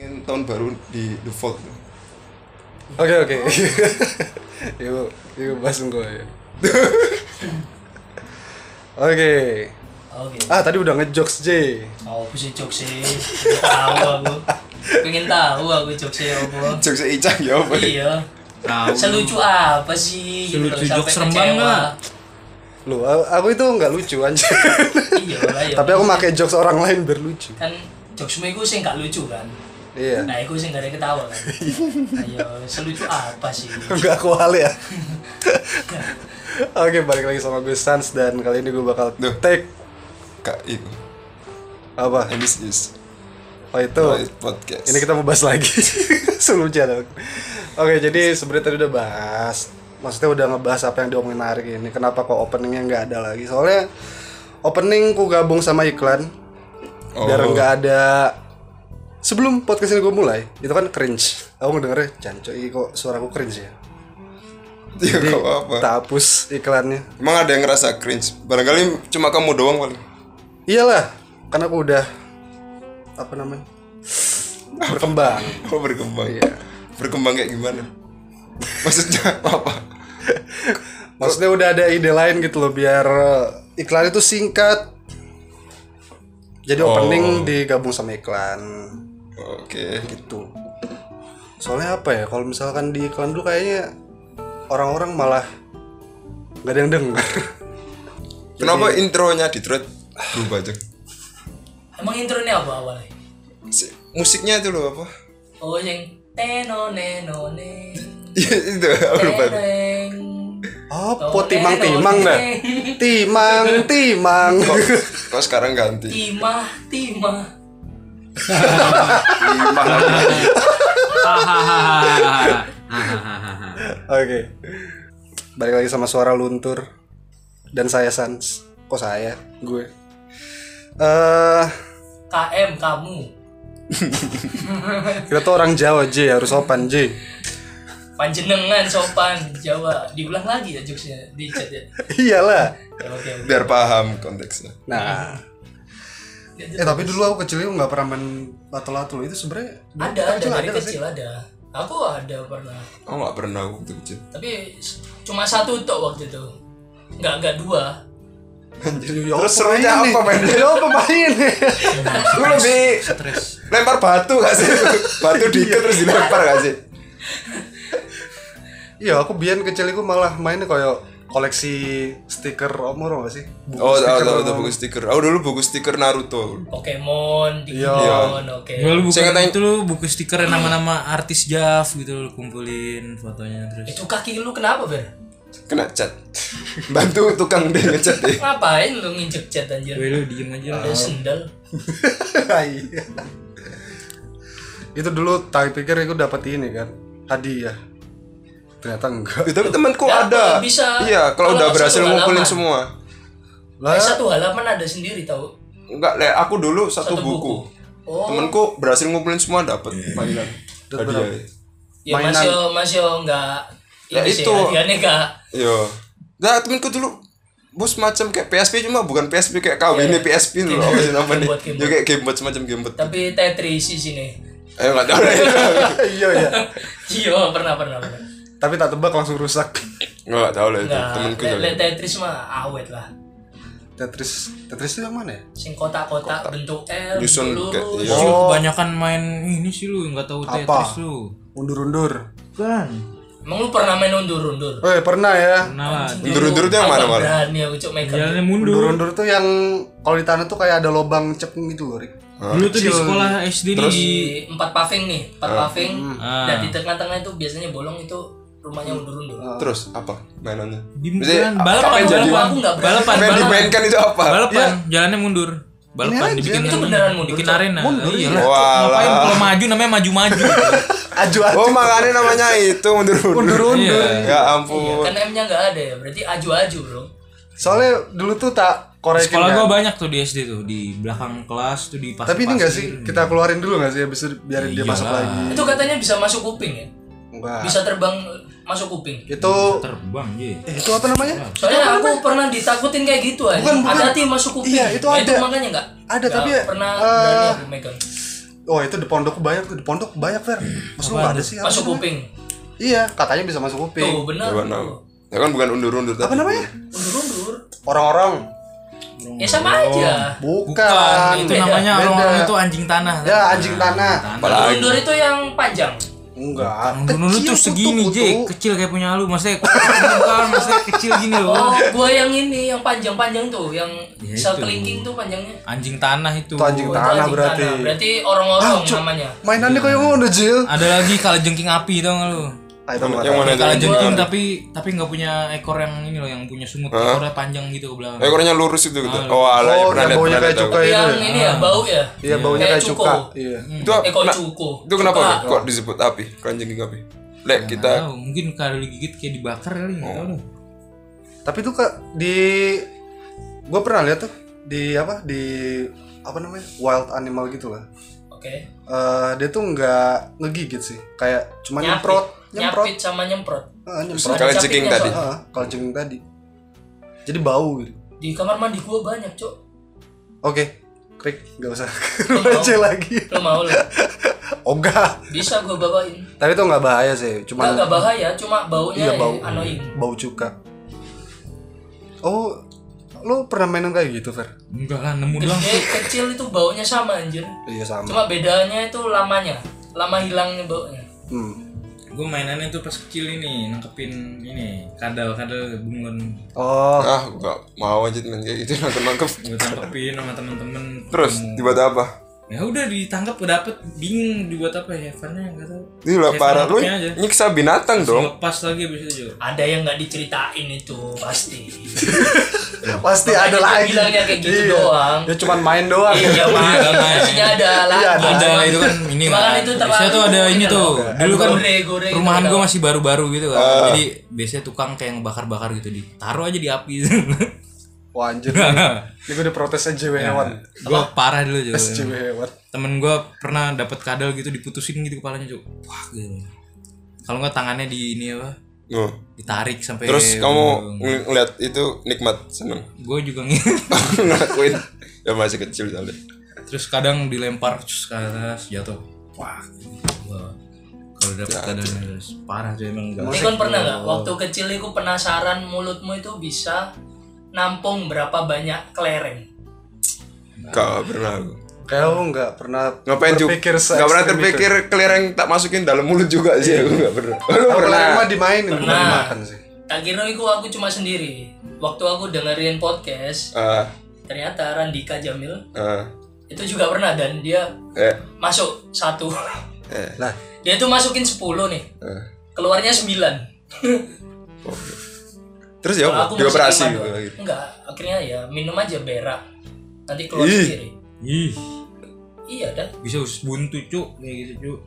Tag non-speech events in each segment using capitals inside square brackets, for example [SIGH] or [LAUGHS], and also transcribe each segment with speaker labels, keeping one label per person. Speaker 1: tahun baru di default tuh.
Speaker 2: Oke oke. [LAUGHS] Yuk, yuk [LAUGHS] bahas gue. ya. Oke.
Speaker 3: Oke.
Speaker 2: Ah tadi udah ngejokes J.
Speaker 3: Oh, aku sih jokes sih. Tahu aku. Pengen tahu aku jokes sih apa.
Speaker 1: Jokes Icang ya apa? ya?
Speaker 3: Iya.
Speaker 4: Tahu.
Speaker 3: Selucu apa sih? Gitu
Speaker 4: Selucu
Speaker 3: loh,
Speaker 4: jokes
Speaker 3: sampai
Speaker 4: rembang
Speaker 3: kecewa.
Speaker 4: nggak?
Speaker 2: Lu aku itu nggak lucu anjir.
Speaker 3: Iya lah ya.
Speaker 2: Tapi aku pakai jokes orang lain biar lucu.
Speaker 3: kan jokesmu itu sih nggak lucu kan.
Speaker 2: Iya.
Speaker 3: Nah, aku sih nggak ada yang ketawa kan. Ayo, selucu apa sih?
Speaker 2: Enggak aku hal ya. [LAUGHS] Oke, balik lagi sama gue Sans dan kali ini gue bakal
Speaker 1: Duh.
Speaker 2: take
Speaker 1: Kak itu.
Speaker 2: apa?
Speaker 1: And this is
Speaker 2: Oh itu.
Speaker 1: my podcast.
Speaker 2: Ini kita mau bahas lagi. [LAUGHS] Selucu ada. Oke, jadi sebenarnya tadi udah bahas. Maksudnya udah ngebahas apa yang diomongin hari ini. Kenapa kok openingnya nggak ada lagi? Soalnya opening ku gabung sama iklan
Speaker 1: Oh.
Speaker 2: biar nggak ada sebelum podcast ini gue mulai itu kan cringe aku ngedengernya janco ini kok suaraku cringe ya
Speaker 1: [LAUGHS] [LAUGHS] ya gak apa.
Speaker 2: kita hapus iklannya
Speaker 1: Emang ada yang ngerasa cringe? Barangkali cuma kamu doang paling.
Speaker 2: iyalah karena aku udah apa namanya berkembang
Speaker 1: Oh berkembang.
Speaker 2: Iya.
Speaker 1: Berkembang kayak gimana? [LAUGHS] Maksudnya apa?
Speaker 2: maksudnya udah ada ide lain gitu loh biar eh, iklan itu singkat jadi opening digabung sama iklan
Speaker 1: Oke.
Speaker 2: gitu soalnya apa ya kalau misalkan di iklan dulu kayaknya orang-orang malah nggak ada yang denger [LAUGHS]
Speaker 1: Kenapa intronya di thread berubah aja?
Speaker 3: Emang intronya apa awalnya?
Speaker 1: Si- musiknya itu loh apa? [LAUGHS]
Speaker 3: Oh, yang teno neno ne.
Speaker 1: Iya, itu aku lupa.
Speaker 2: iya.
Speaker 3: Teneng.
Speaker 2: apa timang timang Oh, dah timang timang
Speaker 1: Kok, kok sekarang ganti?
Speaker 3: Timah, timah.
Speaker 1: Imah lagi.
Speaker 4: Hahaha.
Speaker 2: [LAUGHS] oke balik lagi sama suara luntur dan saya sans kok saya gue eh
Speaker 3: KM kamu.
Speaker 2: kita tuh orang Jawa J harus sopan J
Speaker 3: Panjenengan sopan Jawa. Diulang lagi ya jokesnya di chat ya.
Speaker 2: iyalah
Speaker 3: Ya, Oke. oke.
Speaker 1: Biar paham konteksnya.
Speaker 2: nah
Speaker 3: Ya,
Speaker 2: eh tapi dulu aku kecilnya nggak pernah main lato-lato loh itu sebenarnya
Speaker 3: ada ada
Speaker 2: kecil
Speaker 3: dari
Speaker 2: nggak sih?
Speaker 3: kecil ada. Aku ada pernah.
Speaker 1: Oh nggak pernah aku waktu kecil.
Speaker 3: Tapi s- cuma satu tok waktu itu. Enggak enggak dua.
Speaker 1: Terus serunya apa main?
Speaker 2: Ya apa main?
Speaker 1: Lu lebih lempar batu gak sih? batu dikit terus dilempar gak sih?
Speaker 2: Iya, aku biyen kecil iku malah mainnya kayak koleksi stiker omoro gak sih? [LAUGHS] Buku
Speaker 1: Oh, tahu
Speaker 2: stiker
Speaker 1: tahu tahu
Speaker 2: Omoro.
Speaker 1: buku stiker. Aku dulu buku stiker Naruto.
Speaker 3: Pokemon,
Speaker 2: Iya.
Speaker 3: Digimon, oke.
Speaker 4: Gue Eh, lu
Speaker 1: Saya
Speaker 4: bukan
Speaker 1: ngetanya-
Speaker 4: itu lu buku stiker yang nama-nama artis Jav gitu lu kumpulin fotonya terus.
Speaker 3: Itu kaki lu kenapa, Ber?
Speaker 1: Kena cat. Bantu tukang dia ngecat deh.
Speaker 3: Ngapain lu nginjek cat anjir?
Speaker 4: Gue lu diem aja
Speaker 3: Ada
Speaker 2: Ah.
Speaker 4: lu.
Speaker 3: sendal.
Speaker 2: Iya. Itu dulu tak pikir aku dapat ini kan, hadiah. Ternyata enggak.
Speaker 1: Ya, tapi temanku
Speaker 3: Ya,
Speaker 1: ada.
Speaker 3: kalau bisa.
Speaker 1: Iya, kalau
Speaker 3: Kalau
Speaker 1: udah
Speaker 3: nggak
Speaker 1: berhasil
Speaker 3: satu
Speaker 1: ngumpulin
Speaker 3: halaman.
Speaker 1: semua.
Speaker 2: [LAUGHS] Lah,
Speaker 3: Eh, satu halaman ada sendiri tau
Speaker 1: Enggak, le, aku dulu satu,
Speaker 3: Satu
Speaker 1: buku.
Speaker 3: buku. Oh.
Speaker 1: Temanku berhasil ngumpulin semua dapat iya. mainan.
Speaker 2: Dapat
Speaker 1: Hadiah.
Speaker 2: berapa?
Speaker 3: Ya
Speaker 2: Mainan.
Speaker 3: masih masih enggak
Speaker 1: Ya,
Speaker 3: ini sih,
Speaker 1: itu.
Speaker 3: hadiahnya enggak
Speaker 1: Iya. Nah, temanku dulu bos macam kayak PSP cuma bukan PSP kayak kau ini PSP dulu apa sih namanya?
Speaker 3: Gamebot, gamebot.
Speaker 1: Ya kayak gamebot semacam gamebot.
Speaker 3: tapi Tetris di sini.
Speaker 1: Ayo enggak tahu deh.
Speaker 2: iya ya.
Speaker 3: Iya, pernah pernah pernah.
Speaker 2: Tapi tak tebak langsung rusak.
Speaker 1: Enggak tahu lah itu
Speaker 3: Nah,
Speaker 1: temanku.
Speaker 3: le-
Speaker 1: soalnya.
Speaker 3: le- Tetris mah awet lah.
Speaker 2: Tetris, Tetris itu yang mana ya?
Speaker 3: Sing kotak-kotak bentuk L,
Speaker 1: Nyusun
Speaker 3: bentuk
Speaker 1: kayak-
Speaker 3: lurus.
Speaker 1: iya.
Speaker 4: Lu
Speaker 2: Oh.
Speaker 4: kebanyakan main ini sih lu nggak tahu
Speaker 2: Apa?
Speaker 4: Tetris lu.
Speaker 2: Undur-undur.
Speaker 4: Kan.
Speaker 3: Emang lu pernah main undur-undur?
Speaker 2: Eh, pernah ya.
Speaker 4: Kenal lah.
Speaker 1: Undur-undur itu yang
Speaker 3: Agak
Speaker 1: mana, Mar?
Speaker 3: Berani aku cok megang.
Speaker 4: Jalannya mundur.
Speaker 2: Undur-undur tuh yang kalau di tanah tuh kayak ada lobang cekung gitu loh, Rik.
Speaker 4: Dulu tuh di sekolah SD nih di
Speaker 3: Di empat paving nih, empat paving.
Speaker 4: Ah.
Speaker 3: Dan di tengah-tengah itu biasanya bolong itu rumahnya
Speaker 2: Hmm.
Speaker 3: undur-undur.
Speaker 2: Oh.
Speaker 1: Terus apa mainannya?
Speaker 4: di
Speaker 1: Maksudnya,
Speaker 4: bukan,
Speaker 1: apa
Speaker 4: balapan
Speaker 1: yang jadi
Speaker 4: balapan
Speaker 3: Aku nggak berani.
Speaker 4: balapan
Speaker 1: apa yang
Speaker 4: balapan
Speaker 1: dimainkan itu apa? Iya.
Speaker 4: balapan jalannya mundur balapan
Speaker 2: aja.
Speaker 4: dibikin
Speaker 3: Itu beneran mundur,
Speaker 4: bikin
Speaker 3: Cok.
Speaker 4: arena iya
Speaker 3: Nah,
Speaker 4: lah
Speaker 1: Walah.
Speaker 4: ngapain kalau maju namanya maju maju
Speaker 2: Aju-aju.
Speaker 1: Oh, makanya namanya itu mundur-mundur.
Speaker 2: Undur-undur.
Speaker 4: iya
Speaker 1: Ya
Speaker 3: Iya,
Speaker 1: ampun.
Speaker 3: kan M-nya nggak ada ya, berarti aju-aju bro.
Speaker 2: Soalnya dulu tuh tak korekin
Speaker 4: sekolah
Speaker 2: kan.
Speaker 4: gua banyak tuh di SD tuh di belakang kelas tuh di pasir
Speaker 2: Tapi ini enggak sih kita keluarin dulu enggak sih habis itu biarin dia masuk
Speaker 4: Iyalah.
Speaker 2: lagi.
Speaker 3: Itu katanya bisa masuk kuping ya,
Speaker 2: Enggak.
Speaker 3: bisa terbang masuk kuping.
Speaker 2: Itu
Speaker 4: terbang je
Speaker 2: eh, Iya. itu apa namanya?
Speaker 3: Soalnya aku pernah ditakutin kayak gitu aja.
Speaker 2: Bukan, bukan.
Speaker 3: Hati-hati masuk kuping.
Speaker 2: Iya, itu
Speaker 3: Nah,
Speaker 2: ada.
Speaker 3: makanya nggak.
Speaker 2: Ada,
Speaker 3: nggak
Speaker 2: tapi ya,
Speaker 3: pernah
Speaker 2: eh,
Speaker 3: berani aku megang.
Speaker 2: Oh itu di pondok banyak tuh di pondok banyak Fer. Maksud lu
Speaker 4: Apaan
Speaker 2: ada
Speaker 4: tuh?
Speaker 2: sih apa
Speaker 3: Masuk
Speaker 2: namanya?
Speaker 3: kuping.
Speaker 2: Iya katanya bisa masuk
Speaker 3: Tuh
Speaker 2: kuping.
Speaker 3: benar.
Speaker 1: Gak pernah. Ya kan bukan undur-undur
Speaker 2: Apa
Speaker 1: tapi
Speaker 2: namanya?
Speaker 3: Undur-undur.
Speaker 2: Orang-orang.
Speaker 3: Ya sama aja.
Speaker 2: Bukan.
Speaker 4: Bukan, itu
Speaker 3: Beda.
Speaker 4: namanya
Speaker 2: Beda.
Speaker 4: orang itu anjing tanah.
Speaker 2: Ya, anjing tanah.
Speaker 1: apalagi
Speaker 3: Undur itu yang panjang.
Speaker 2: Enggak.
Speaker 4: Dulu tuh segini, J, kecil kayak punya lu, maksudnya bukan, maksudnya kecil gini
Speaker 3: Oh,
Speaker 4: loh.
Speaker 3: gua yang ini yang panjang-panjang tuh, yang
Speaker 4: Ya,
Speaker 3: bisa
Speaker 4: itu.
Speaker 3: kelingking tuh panjangnya.
Speaker 4: Anjing tanah itu.
Speaker 2: Itu anjing
Speaker 3: Oh, itu
Speaker 2: tanah
Speaker 3: anjing
Speaker 2: berarti.
Speaker 3: Berarti orang-orang
Speaker 2: Ah, Cuk.
Speaker 3: namanya.
Speaker 2: Mainannya kayak ngono Jil.
Speaker 4: Ada lagi kalajengking api tau nggak lu?
Speaker 2: Ah, itu
Speaker 1: yang
Speaker 2: nggak tahu.
Speaker 1: mana itu?
Speaker 4: Kalajengking tapi tapi nggak punya ekor yang ini loh, yang punya sungut ekornya panjang gitu ke belakang.
Speaker 1: Ekornya Eh, lurus itu gitu. Oh, ala
Speaker 2: Oh,
Speaker 1: pernah
Speaker 2: yang
Speaker 1: lihat
Speaker 2: baunya
Speaker 1: pernah
Speaker 2: kayak
Speaker 1: lihat.
Speaker 2: cuka
Speaker 1: aku.
Speaker 2: itu.
Speaker 3: Yang
Speaker 2: ya?
Speaker 3: ini ya, bau ya.
Speaker 2: Iya baunya
Speaker 3: Kayak
Speaker 2: kayak cuka.
Speaker 3: cuko.
Speaker 2: Iya.
Speaker 1: Itu apa?
Speaker 3: Eh, kok Ah,
Speaker 1: Nah,
Speaker 3: cuko?
Speaker 1: Itu kenapa
Speaker 3: Cuka.
Speaker 1: kok- kok disebut api? Kanjeng api. Lek kita Oh.
Speaker 4: Tahu, mungkin kalau digigit kayak dibakar kali nggak tahu deh.
Speaker 2: Tapi tuh kak di gua pernah lihat tuh di apa di apa namanya wild animal gitu lah.
Speaker 3: Oke.
Speaker 2: Eh, dia tuh nggak ngegigit sih, kayak cuma
Speaker 3: Nyapit.
Speaker 2: nyemprot, nyemprot,
Speaker 3: Nyapit sama nyemprot.
Speaker 2: Ah, nyemprot.
Speaker 1: Terus kalian ceking
Speaker 3: Capitnya
Speaker 1: tadi.
Speaker 2: Ah, kalau jengking tadi. Jadi bau gitu.
Speaker 3: Di kamar mandi gua banyak, Cuk.
Speaker 2: Oke, krik nggak usah [LAUGHS] receh lagi. [LAUGHS]
Speaker 3: Lo mau lo?
Speaker 2: Ogah.
Speaker 3: Bisa gua bawain.
Speaker 2: Tapi tuh nggak bahaya sih,
Speaker 3: Enggak
Speaker 2: cuma
Speaker 3: enggak bahaya, cuma baunya
Speaker 2: Iya, bau.
Speaker 3: yang annoying.
Speaker 2: bau cuka. Oh, lo pernah mainan kayak gitu, Fer?
Speaker 4: Enggak lah, nemu doang.
Speaker 3: Gede, kecil itu baunya sama anjir.
Speaker 2: Iya sama.
Speaker 3: Cuma bedanya itu lamanya. Lama hilangnya baunya.
Speaker 2: Hmm.
Speaker 4: Gue mainannya tuh pas kecil ini, nangkepin ini, kadal-kadal bunglon.
Speaker 2: Oh,
Speaker 1: ah nggak mau aja main kayak gitu nangkep nangkep.
Speaker 4: Gue tangkepin sama temen-temen.
Speaker 1: Terus
Speaker 4: ketemu.
Speaker 1: dibuat apa?
Speaker 4: ya udah ditangkap udah dapet bingung dibuat apa ya heavennya nggak tahu
Speaker 1: Ini lah
Speaker 4: Saya
Speaker 1: Iya, parah lu
Speaker 4: nangkepnya aja.
Speaker 1: nyiksa binatang dong.
Speaker 4: lepas lagi abis itu juga
Speaker 3: Ada yang nggak diceritain itu pasti.
Speaker 1: Iya.
Speaker 2: pasti
Speaker 3: Makanya
Speaker 2: [LAUGHS] ada
Speaker 3: kita
Speaker 2: lagi.
Speaker 3: bilangnya kayak gitu
Speaker 2: Iya.
Speaker 3: doang.
Speaker 2: Dia cuma main doang.
Speaker 3: Iya, Mas.
Speaker 4: Iya, kan,
Speaker 3: Maksudnya ada lagi.
Speaker 2: Iya,
Speaker 4: ada itu kan ini
Speaker 3: Cuma kan
Speaker 4: kan
Speaker 3: itu
Speaker 4: biasanya
Speaker 3: terlalu
Speaker 4: tuh ada ini
Speaker 3: ini
Speaker 4: tuh
Speaker 3: loh.
Speaker 4: dulu kan
Speaker 3: Gore-gore gitu
Speaker 4: rumahan
Speaker 3: kan.
Speaker 4: gue masih baru-baru gitu kan jadi biasanya tukang kayak ngebakar-bakar gitu ditaruh aja di api [LAUGHS]
Speaker 2: Wah anjir.
Speaker 3: Iya.
Speaker 2: Ini gue udah protesnya JW hewan.
Speaker 4: gue parah dulu juga
Speaker 2: JW hewan.
Speaker 4: temen gue pernah dapat kadal gitu diputusin gitu kepalanya cuy wah gitu kalau nggak tangannya di ini apa
Speaker 1: Nuh.
Speaker 4: ditarik
Speaker 2: Iya,
Speaker 4: sampai
Speaker 1: Terus kamu ng- ngeliat itu nikmat seneng. [LAUGHS]
Speaker 4: gue juga [LAUGHS] ngikut
Speaker 1: Ngelakuin ya masih kecil soalnya.
Speaker 4: terus kadang dilempar terus ke atas jatuh wah gua- kalau dapat kadalnya terus parah tuh emang gak
Speaker 3: Ini kan pernah nggak? Waktu kecil itu penasaran mulutmu itu bisa nampung berapa banyak kelereng.
Speaker 1: Gak pernah aku.
Speaker 2: Kayak lu nggak pernah
Speaker 1: Ngapain juga?
Speaker 2: berpikir se
Speaker 1: Gak pernah
Speaker 2: ekstrim itu.
Speaker 1: terpikir kelereng tak masukin dalam mulut juga sih aku gak pernah. Lu
Speaker 2: Kalau
Speaker 1: pernah?
Speaker 2: pernah dimainin bukan
Speaker 3: Pernah.
Speaker 2: dimakan sih.
Speaker 3: Tak kira itu aku cuma sendiri. Waktu aku dengerin podcast,
Speaker 1: Ah,
Speaker 3: ternyata Randika Jamil
Speaker 1: ah,
Speaker 3: itu juga pernah dan dia
Speaker 1: eh,
Speaker 3: masuk satu. [LAUGHS]
Speaker 1: eh,
Speaker 2: Lah,
Speaker 3: Dia tuh masukin 10 nih,
Speaker 1: eh.
Speaker 3: keluarnya 9.
Speaker 1: Terus ya
Speaker 3: Kalau
Speaker 1: apa?
Speaker 3: aku masih
Speaker 1: Dioperasi
Speaker 3: iman
Speaker 1: gitu.
Speaker 3: doang.
Speaker 1: lagi.
Speaker 3: enggak akhirnya ya minum aja berak nanti keluar
Speaker 1: Ih.
Speaker 3: sendiri
Speaker 4: ih
Speaker 3: iya dah
Speaker 4: bisa usus buntu cuk kayak gitu cuk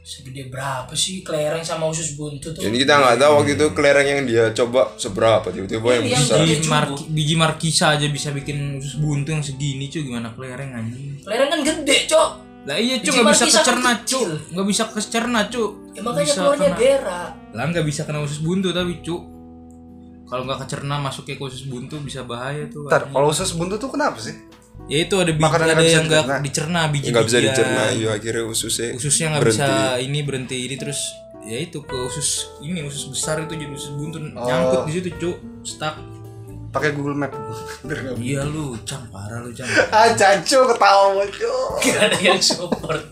Speaker 3: segede berapa sih kelereng sama usus buntu tuh
Speaker 1: Jadi kita nggak tahu waktu itu kelereng yang dia coba seberapa tiba-tiba yang
Speaker 3: Iya,
Speaker 1: besar.
Speaker 3: iya.
Speaker 4: biji, marki, biji markisa aja bisa bikin usus buntu yang segini cuk gimana kelereng anjing
Speaker 3: kelereng kan gede cok
Speaker 4: lah iya
Speaker 3: Biji
Speaker 4: cuk nggak
Speaker 3: markisa
Speaker 4: bisa
Speaker 3: kan
Speaker 4: kecerna
Speaker 3: kecil.
Speaker 4: cuk nggak bisa kecerna cuk
Speaker 3: ya makanya
Speaker 4: Bisa
Speaker 3: keluarnya
Speaker 4: kena-
Speaker 3: berak [LAUGHS]
Speaker 4: lah nggak bisa kena usus buntu tapi cuk kalau nggak kecerna masuknya ke usus buntu bisa bahaya tuh
Speaker 2: ntar kalau usus buntu tuh kenapa sih?
Speaker 4: ya itu ada biji
Speaker 2: Makanan
Speaker 4: ada
Speaker 2: nggak bisa
Speaker 4: yang nggak
Speaker 2: dicerna.
Speaker 4: dicerna biji
Speaker 1: Nggak bisa dicerna. Iya akhirnya ususnya.
Speaker 4: ususnya nggak
Speaker 1: Berhenti.
Speaker 4: bisa ini berhenti ini terus ya itu ke usus ini usus besar itu jadi usus buntu
Speaker 1: Oh.
Speaker 4: nyangkut di situ cuk stuck
Speaker 2: Pakai Google Map. [LAUGHS] Biar nggak-
Speaker 4: iya lu cang parah lu cang
Speaker 2: ah, cacu ketawa mulu.
Speaker 3: gak ada yang support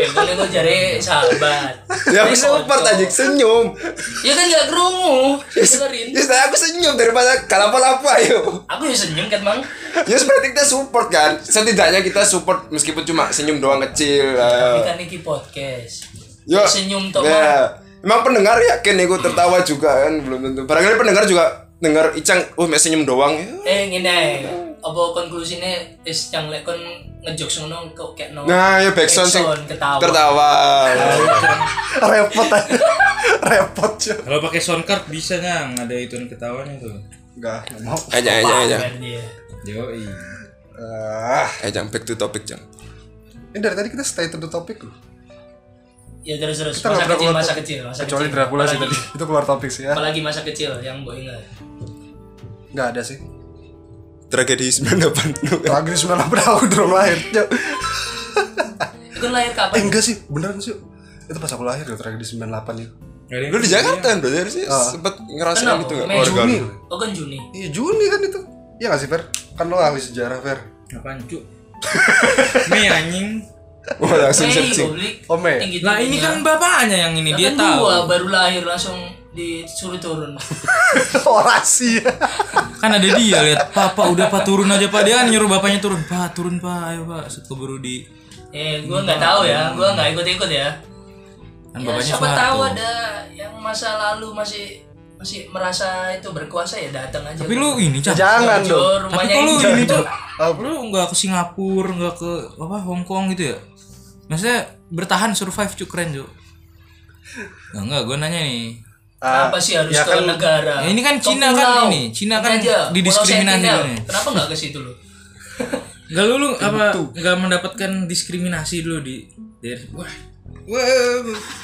Speaker 3: ya boleh gue cari sahabat
Speaker 1: Ya
Speaker 3: Tapi
Speaker 1: aku support
Speaker 3: kocok.
Speaker 1: aja senyum.
Speaker 3: ya kan gak kerungu dengerin
Speaker 1: Ya saya aku senyum daripada kalapa apa yuk.
Speaker 3: aku ya senyum kan mang
Speaker 1: Ya seperti kita support kan. Setidaknya kita support meskipun cuma senyum doang kecil. eh.
Speaker 3: tapi kan ini podcast
Speaker 1: Yo.
Speaker 3: senyum toh Mang.
Speaker 1: Ya. Emang pendengar yakin gue tertawa juga kan belum tentu. Barangkali pendengar juga dengar Icang, oh mek senyum doang. Ya.
Speaker 3: eh ngene ae. apa konklusinya is yang lek kon ngejok ngono kok kayak no
Speaker 1: Nah, ya backsound sing
Speaker 3: Backsound, ketawa.
Speaker 1: tertawa.
Speaker 2: Repot aja. [LAUGHS] Repot, cuy.
Speaker 4: kalau pakai sound card bisa nyang ada ituan ketawanya tuh
Speaker 2: Enggak, enggak mau.
Speaker 1: Aja aja
Speaker 2: Iya,
Speaker 1: aja.
Speaker 3: Kan dia.
Speaker 4: yoi
Speaker 2: Ah,
Speaker 1: Eh, Jang, back to topic, Jang.
Speaker 2: ini dari tadi kita stay to the topic loh.
Speaker 3: ya terus terus
Speaker 2: Kita nggak
Speaker 3: masa
Speaker 2: pernah keluar
Speaker 3: kecil masa
Speaker 2: topik.
Speaker 3: kecil masa
Speaker 2: Kecuali
Speaker 3: kecil.
Speaker 2: Dracula sih
Speaker 3: Apalagi-
Speaker 2: tadi. Itu keluar topik sih ya.
Speaker 3: apalagi masa kecil yang boy ingat
Speaker 2: Enggak ada sih.
Speaker 1: Tragedi 98.
Speaker 3: [LAUGHS]
Speaker 2: Tragedi 98 aku belum lahir, cuy.
Speaker 3: Itu kan lahir
Speaker 2: eh
Speaker 3: kapan?
Speaker 2: enggak sih beneran sih itu pas aku lahir ya terakhir di 98 ya
Speaker 1: Lu di Jakarta kan berarti harusnya
Speaker 2: Ah.
Speaker 1: sempet ngerasain
Speaker 3: Kenapa?
Speaker 1: gitu nggak
Speaker 3: Iya. Mei,
Speaker 1: keluarga
Speaker 2: Juni
Speaker 1: lu?
Speaker 3: Oh kan Juni.
Speaker 2: iya Juni kan itu iya nggak sih Fer kan lo ahli sejarah Fer [LAUGHS]
Speaker 4: Apaan [LAUGHS] cu? Mei anjing.
Speaker 1: Wah langsung
Speaker 3: Mei
Speaker 1: searching.
Speaker 3: goblik.
Speaker 2: Oh, Mei.
Speaker 3: Tinggi
Speaker 4: Lah ini kan bapaknya yang ini dia
Speaker 3: Gua
Speaker 4: tahu.
Speaker 3: baru lahir langsung disuruh
Speaker 2: [LAUGHS]
Speaker 3: turun.
Speaker 2: Oh, orasi
Speaker 4: Kan ada dia lihat papa udah pak turun aja pak dia kan nyuruh bapaknya turun pak turun pak ayo pak set keburu di
Speaker 3: Eh, gua nggak tahu ya, gua nggak ikut-ikut ya.
Speaker 4: kan
Speaker 3: Ya,
Speaker 4: bapaknya
Speaker 3: siapa
Speaker 4: Soeharto.
Speaker 3: tahu ada yang masa lalu masih masih merasa itu berkuasa ya datang aja.
Speaker 4: Tapi lu ini cak.
Speaker 2: jangan
Speaker 3: Jujur,
Speaker 2: dong
Speaker 4: Tapi
Speaker 3: Iya, rumahnya
Speaker 4: kok lu
Speaker 3: ini
Speaker 4: ini tuh
Speaker 2: Apa?
Speaker 4: lu nggak ke Singapura nggak ke apa Hong Kong gitu ya? Maksudnya bertahan survive cu keren cu. Nah, enggak gue nanya nih.
Speaker 2: Ah,
Speaker 3: apa sih harus
Speaker 2: ya
Speaker 3: ke
Speaker 2: kan-
Speaker 3: negara?
Speaker 4: Ya, ini kan
Speaker 3: Ke
Speaker 4: Cina kan
Speaker 3: pulau.
Speaker 4: ini, Cina kan
Speaker 3: Ini aja, Pulau
Speaker 4: didiskriminasi
Speaker 3: Sentinel.
Speaker 4: ini.
Speaker 3: Kenapa nggak ke situ lu?
Speaker 2: [LAUGHS]
Speaker 4: Enggak lu, lu apa enggak mendapatkan diskriminasi dulu di dari wah. Wah,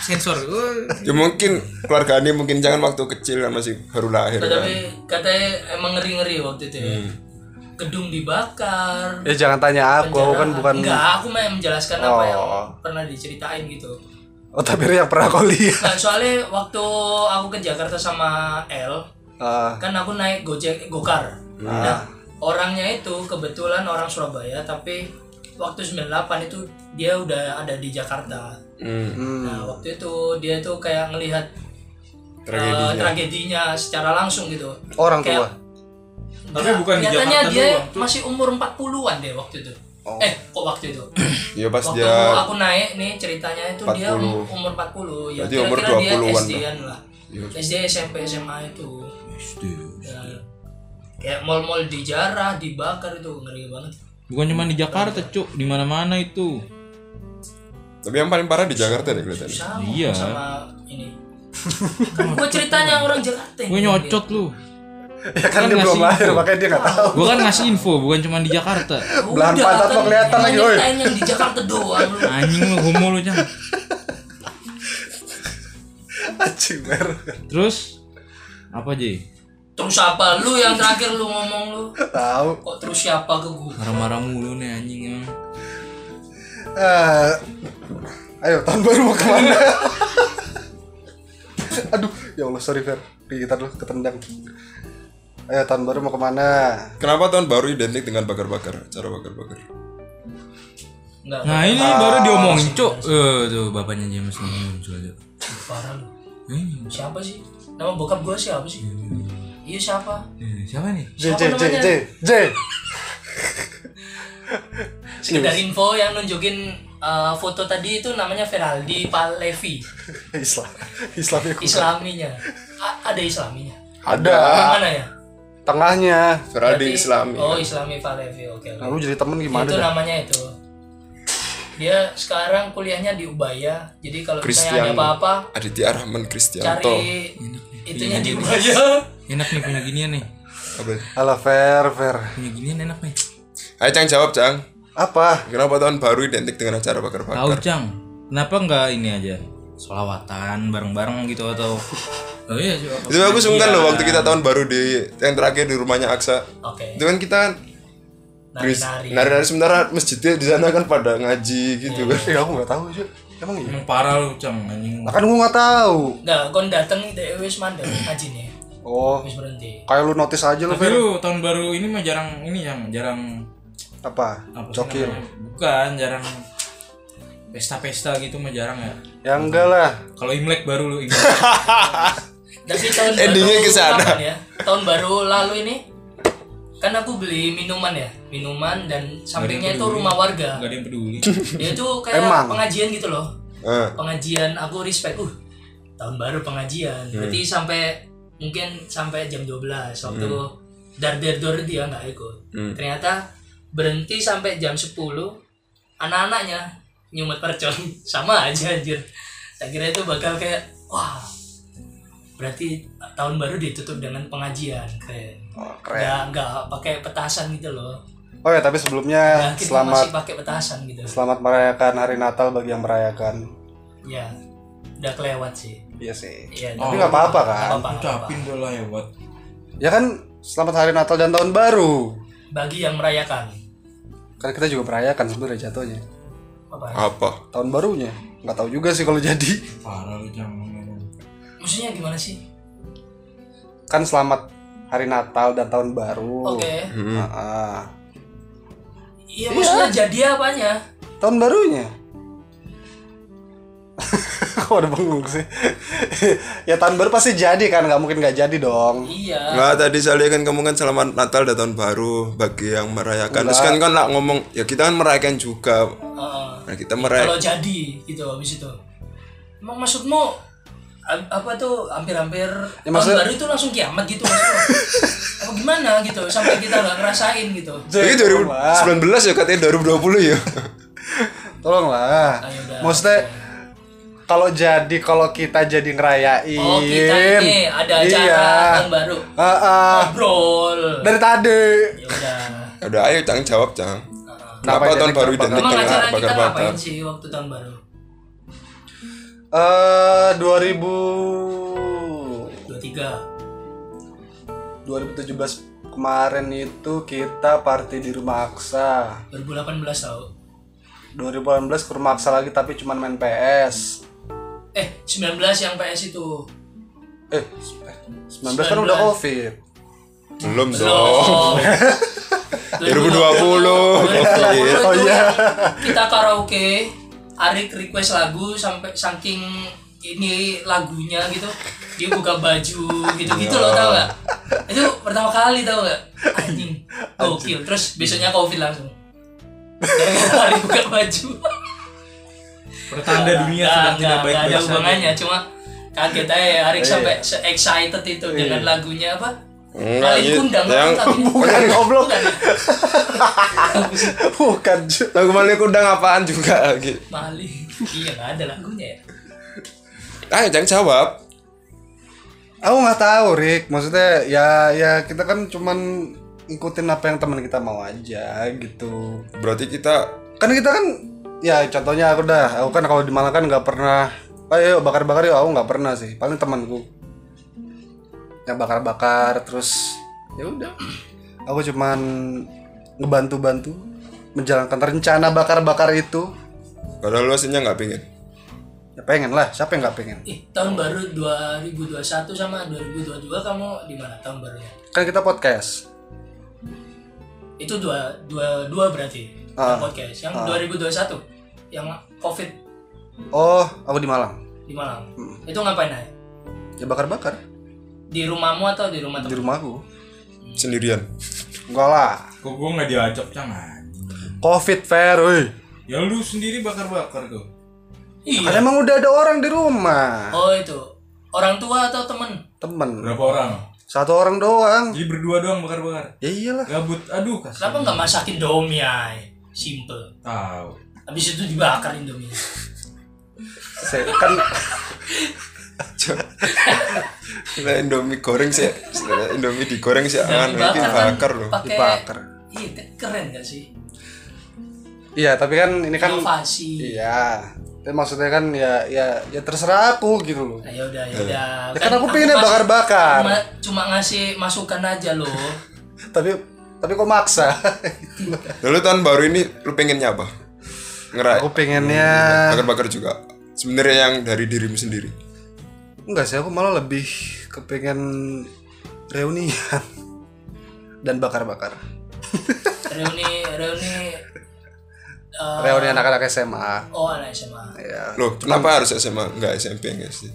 Speaker 4: sensor. Wah.
Speaker 1: Ya mungkin keluarga ini mungkin jangan waktu kecil kan masih baru lahir
Speaker 2: Iya.
Speaker 1: kan.
Speaker 3: Tapi katanya emang ngeri-ngeri waktu itu ya.
Speaker 2: Hmm.
Speaker 3: Gedung dibakar.
Speaker 2: ya jangan tanya aku aku kan bukan
Speaker 3: Enggak, aku mah yang menjelaskan apa
Speaker 2: Oh.
Speaker 3: yang pernah diceritain gitu.
Speaker 2: oh tapi yang pernah kau lihat
Speaker 3: Nah, soalnya waktu aku ke Jakarta sama L,
Speaker 2: Ah,
Speaker 3: kan aku naik Gojek Gokar. Nah, orangnya itu kebetulan orang Surabaya tapi waktu 98 itu dia udah ada di Jakarta.
Speaker 1: Hmm.
Speaker 3: Nah, waktu itu dia tuh kayak ngelihat eh,
Speaker 1: Tragedinya. Oh,
Speaker 3: tragedinya secara langsung gitu.
Speaker 2: orang tua
Speaker 3: Kayak-
Speaker 4: Tapi bukan di
Speaker 3: Nyatanya
Speaker 4: Jakarta
Speaker 3: dia
Speaker 4: doang,
Speaker 3: masih umur 40-an deh waktu itu. Eh, kok waktu itu?
Speaker 1: Ya Oh. [CLEARS THROAT] pas
Speaker 3: waktu
Speaker 1: dia
Speaker 3: aku naik nih ceritanya itu dia
Speaker 1: 40.
Speaker 3: umur 40 ya
Speaker 1: Berarti umur Iya.
Speaker 3: kira-kira dia
Speaker 1: 20-an
Speaker 3: SD-an lah. SD SMP SMA itu. Ya, kayak mall-mall dijarah, dibakar itu ngeri banget.
Speaker 4: Bukan cuma di Jakarta, Cuk, di mana-mana itu.
Speaker 1: Tapi yang paling parah di Jakarta deh kelihatannya.
Speaker 3: Sama
Speaker 4: Iya.
Speaker 3: sama ini. kan gue ceritanya orang Jakarta.
Speaker 4: Gue nyocot lu.
Speaker 2: ya kan dia
Speaker 4: ngasih
Speaker 2: belum lahir
Speaker 4: info.
Speaker 2: makanya dia nggak tahu [LAUGHS]
Speaker 4: Gue kan ngasih info, bukan cuma di Jakarta.
Speaker 2: Belahan pantat lo kelihatan lagi, woi.
Speaker 3: Ceritain yang di Jakarta doang lu.
Speaker 4: Anjing lu homo lu, Cang.
Speaker 2: anjing Mer.
Speaker 4: Terus apa, Ji?
Speaker 3: Terus apa lu yang terakhir lu ngomong lu?
Speaker 2: tahu
Speaker 3: Kok terus siapa ke gue?
Speaker 4: Marah-marah mulu nih anjing ya. emang.
Speaker 2: Eh, ayo tahun baru mau kemana [LAUGHS] aduh ya allah sorry Fer gitar lu ketendang ayo tahun baru mau kemana
Speaker 1: Kenapa tahun baru identik dengan bakar-bakar? Cara bakar-bakar.
Speaker 3: Enggak.
Speaker 4: Nah, ini baru diomongin, Cuk. Eh, tuh bapaknya James nih muncul aja.
Speaker 3: Parah lu.
Speaker 4: Eh,
Speaker 3: Siapa sih? Nama bokap gue siapa sih? Iya siapa?
Speaker 4: eh, siapa nih?
Speaker 2: J J J
Speaker 3: Siapa namanya?
Speaker 2: J J [LAUGHS]
Speaker 3: Sekedar info yang nunjukin uh, foto tadi itu namanya Feraldi Palevi
Speaker 2: Islam Islamnya kurang.
Speaker 3: Islaminya A- ada Islaminya
Speaker 2: Ah, ada
Speaker 3: Gimana ya
Speaker 2: tengahnya
Speaker 1: Feraldi
Speaker 3: Berarti-
Speaker 1: Islami.
Speaker 3: oh Islami Palevi oke lah.
Speaker 2: lalu jadi temen gimana
Speaker 3: itu
Speaker 2: dah?
Speaker 3: namanya itu dia sekarang kuliahnya di Ubaya jadi kalau misalnya ada
Speaker 1: Christian
Speaker 3: apa-apa
Speaker 1: Aditya Rahman Kristianto.
Speaker 3: cari itunya di Ubaya
Speaker 4: Enak nih punya ginian nih.
Speaker 1: Apa?
Speaker 2: Ala Fer Fer
Speaker 4: Punya ginian enak nih.
Speaker 1: Ayo Cang jawab Cang.
Speaker 2: apa
Speaker 1: Kenapa tahun baru identik dengan acara bakar-bakar?
Speaker 4: Tahu, Cang. Kenapa enggak ini aja? Solawatan bareng-bareng gitu atau Oh iya, Cuk.
Speaker 1: Itu aku sungkan loh waktu kita tahun baru di yang terakhir di rumahnya Aksa.
Speaker 3: oke
Speaker 1: Itu kan kita beris-
Speaker 3: nari-nari
Speaker 1: nari-nari sementara masjidnya di sana kan pada ngaji gitu kan.
Speaker 2: ya aku nggak tahu sih emang iya
Speaker 4: Emang parah lu, Cang, anjing.
Speaker 2: Lah kan gua nggak tahu
Speaker 3: nggak kon dateng deh wis mandek ngaji nih
Speaker 2: oh
Speaker 3: wis berhenti
Speaker 2: kayak lu notice aja lu
Speaker 4: Tapi
Speaker 2: Fer
Speaker 4: lu tahun baru ini mah jarang ini yang jarang
Speaker 2: apa
Speaker 4: apa sih
Speaker 2: cokil
Speaker 4: namanya? Bukan, jarang pesta-pesta gitu mah jarang ya.
Speaker 2: ya enggak lah
Speaker 4: Kalau Imlek baru lu Imlek.
Speaker 1: [LAUGHS]
Speaker 3: tapi tahun
Speaker 1: Endingnya
Speaker 3: baru
Speaker 1: ke sana.
Speaker 3: kapan ya tahun baru lalu ini kan aku beli minuman ya minuman dan sampingnya itu rumah warga
Speaker 4: Enggak ada yang peduli.
Speaker 3: dia tuh kayak
Speaker 2: Emang.
Speaker 3: pengajian gitu loh
Speaker 1: Eh,
Speaker 3: pengajian aku respect uh tahun baru pengajian berarti sampai mungkin sampai jam 12 waktu dar dar dor dia nggak ikut ternyata berhenti sampai jam 10 anak-anaknya nyumet percon [LAUGHS] sama aja anjir tak kira itu bakal kayak wah berarti tahun baru ditutup dengan pengajian keren
Speaker 2: Oh, keren.
Speaker 3: nggak nggak pakai petasan gitu loh
Speaker 2: Oh ya, tapi sebelumnya
Speaker 3: Nah, kita
Speaker 2: selamat
Speaker 3: masih pakai petasan gitu
Speaker 2: selamat merayakan hari Natal bagi yang merayakan.
Speaker 3: ya udah kelewat sih
Speaker 2: Iya sih.
Speaker 3: Iya,
Speaker 2: Tapi
Speaker 4: Oh.
Speaker 2: nggak apa-apa kan?
Speaker 3: Nggak apa-apa, nggak apa-apa.
Speaker 4: Ucapin udah lah ya buat.
Speaker 2: Ya kan selamat hari Natal dan tahun baru.
Speaker 3: bagi yang merayakan
Speaker 2: Kan kita juga merayakan sebenarnya jatuhnya.
Speaker 3: apa
Speaker 1: Ah, Apa?
Speaker 2: tahun barunya nggak tahu juga sih kalau jadi
Speaker 4: Parah lu jangan
Speaker 3: maksudnya gimana sih
Speaker 2: kan selamat hari Natal dan tahun baru
Speaker 3: oke
Speaker 1: Hmm.
Speaker 2: Ah,
Speaker 3: iya maksudnya jadi apanya
Speaker 2: tahun barunya [LAUGHS] kok ada bengong sih ya tahun baru pasti jadi kan nggak mungkin nggak jadi dong
Speaker 3: iya
Speaker 1: Nggak, tadi soalnya kan kamu kan selamat Natal dan tahun baru bagi yang merayakan. Terus kan kan lah ngomong, ya kita kan merayakan juga.
Speaker 3: Heeh.
Speaker 1: Nah, kita merayakan.
Speaker 3: kalau jadi gitu habis itu emang maksudmu a- apa tuh hampir-hampir
Speaker 2: maksud-
Speaker 3: tahun baru itu langsung kiamat gitu maksudnya apa gimana gitu sampai kita nggak ngerasain gitu
Speaker 2: Iya,
Speaker 1: Ini 2019 ya katanya 2020 ya.
Speaker 2: tolonglah
Speaker 3: Ayo udah.
Speaker 2: maksudnya kalau jadi kalau kita jadi ngerayain
Speaker 3: oh kita ini ada acara
Speaker 2: iya.
Speaker 3: tahun baru
Speaker 2: Ah, Nah. ah.
Speaker 3: ngobrol
Speaker 2: dari tadi
Speaker 3: ya udah
Speaker 1: Udah ayo Cang jawab Cang.
Speaker 2: Kenapa
Speaker 1: Kenapa
Speaker 2: jadi
Speaker 1: tahun baru
Speaker 2: kenapa?
Speaker 1: identik
Speaker 3: emang acara
Speaker 1: dengan
Speaker 3: kita
Speaker 1: bakar-bakar?
Speaker 3: ngapain sih waktu tahun baru
Speaker 2: eh 2000
Speaker 3: dua tiga
Speaker 2: 2017 kemarin itu kita party di rumah Aksa
Speaker 3: 2018 tau
Speaker 2: 2018 ke rumah Aksa lagi tapi cuman main PS
Speaker 3: eh 19 yang PS itu
Speaker 2: eh eh, 19 kan udah covid [LAUGHS]
Speaker 1: Belum
Speaker 3: Oh.
Speaker 1: dong.
Speaker 3: [LAUGHS]
Speaker 1: 2020.
Speaker 3: belum
Speaker 1: Covid.
Speaker 3: oh
Speaker 2: Oh, iya.
Speaker 3: kita karaoke Arik request lagu sampai saking ini lagunya gitu dia buka baju gitu gitu loh tau gak itu pertama kali tau gak anjing gokil terus besoknya covid langsung gara-gara Arik buka baju
Speaker 4: Pertanda dunia
Speaker 3: Nggak, nggak,
Speaker 4: sedang tidak
Speaker 3: nggak ada
Speaker 4: baik-baik saja.
Speaker 3: hubungannya cuma kaget aja ya, Arik
Speaker 2: Iya.
Speaker 3: sampai se excited itu dengan lagunya apa
Speaker 1: Enggak,
Speaker 3: Kali
Speaker 1: iya.
Speaker 3: kundang
Speaker 1: Yang-
Speaker 2: [LAUGHS] bukan goblok
Speaker 3: Bukan.
Speaker 2: bukan Ju.
Speaker 1: Lagu Malik Kundang apaan juga lagi.
Speaker 3: Mali. Iya nggak ada lagunya ya.
Speaker 1: Ayo Cang jawab.
Speaker 2: aku nggak tahu Rick maksudnya ya ya kita kan cuman ngikutin apa yang teman kita mau aja gitu
Speaker 1: Berarti kita
Speaker 2: kan kita kan ya contohnya aku dah aku kan kalau di Malang kan nggak pernah ayo bakar-bakar yuk aku nggak pernah sih paling temanku yang bakar-bakar terus ya udah aku cuman ngebantu-bantu menjalankan rencana bakar-bakar itu
Speaker 1: padahal lu aslinya nggak pingin.
Speaker 2: ya pengen lah siapa yang nggak pengen
Speaker 3: Ih, tahun baru 2021 sama 2022 kamu di mana tahun barunya?
Speaker 2: kan kita podcast
Speaker 3: Itu dua dua dua berarti.
Speaker 2: Ah.
Speaker 3: Yang podcast. Yang 2021 yang Covid
Speaker 2: oh aku di Malang
Speaker 3: di Malang.
Speaker 2: Hmm.
Speaker 3: Itu ngapain aja?
Speaker 2: ya bakar-bakar
Speaker 3: Di rumahmu atau di rumah
Speaker 2: di
Speaker 3: teman?
Speaker 2: rumahku
Speaker 1: Sendirian.
Speaker 2: enggak lah
Speaker 4: Kok gua nggak diajak Cang anjing.
Speaker 2: covid fair woi
Speaker 4: Ya lu sendiri bakar-bakar tuh.
Speaker 2: kan
Speaker 3: Iya.
Speaker 2: emang udah ada orang di rumah
Speaker 3: Oh, itu. Orang tua atau temen?
Speaker 2: temen
Speaker 4: Berapa orang?
Speaker 2: satu orang doang
Speaker 4: Jadi berdua doang bakar-bakar.
Speaker 2: ya iyalah
Speaker 4: Gabut. Aduh, kasih
Speaker 3: Kenapa nggak masakin domi ay? Simple.
Speaker 4: tahu.
Speaker 3: Habis itu dibakar Indomie.
Speaker 2: Se- kan
Speaker 1: Nah, Indomie goreng sih. Nah, Indomie digoreng
Speaker 2: Ya,
Speaker 1: sih angan
Speaker 3: Dibakar
Speaker 1: iki
Speaker 3: kan
Speaker 1: bakar loh.
Speaker 3: Pakai
Speaker 2: Dibakar.
Speaker 3: Iya, ke- keren gak sih?
Speaker 2: iya tapi kan ini kan
Speaker 3: Inovasi.
Speaker 2: iya tapi maksudnya kan ya ya ya terserah aku gitu loh
Speaker 3: Nah, ya udah, ya udah.
Speaker 2: ya kan aku pengennya bakar-bakar
Speaker 3: cuma, cuma ngasih masukan aja loh
Speaker 2: tapi tapi kok maksa
Speaker 1: Lalu tahun baru ini lu pengennya apa? Ngeray
Speaker 2: aku pengennya
Speaker 1: bakar-bakar juga. Sebenarnya yang dari dirimu sendiri.
Speaker 2: enggak sih aku malah lebih kepengen reunian [LAUGHS] dan bakar-bakar
Speaker 3: reuni reuni eh,
Speaker 2: reuni anak-anak SMA
Speaker 3: oh anak SMA
Speaker 2: ya
Speaker 1: Loh, kenapa harus SMA enggak SMP enggak sih?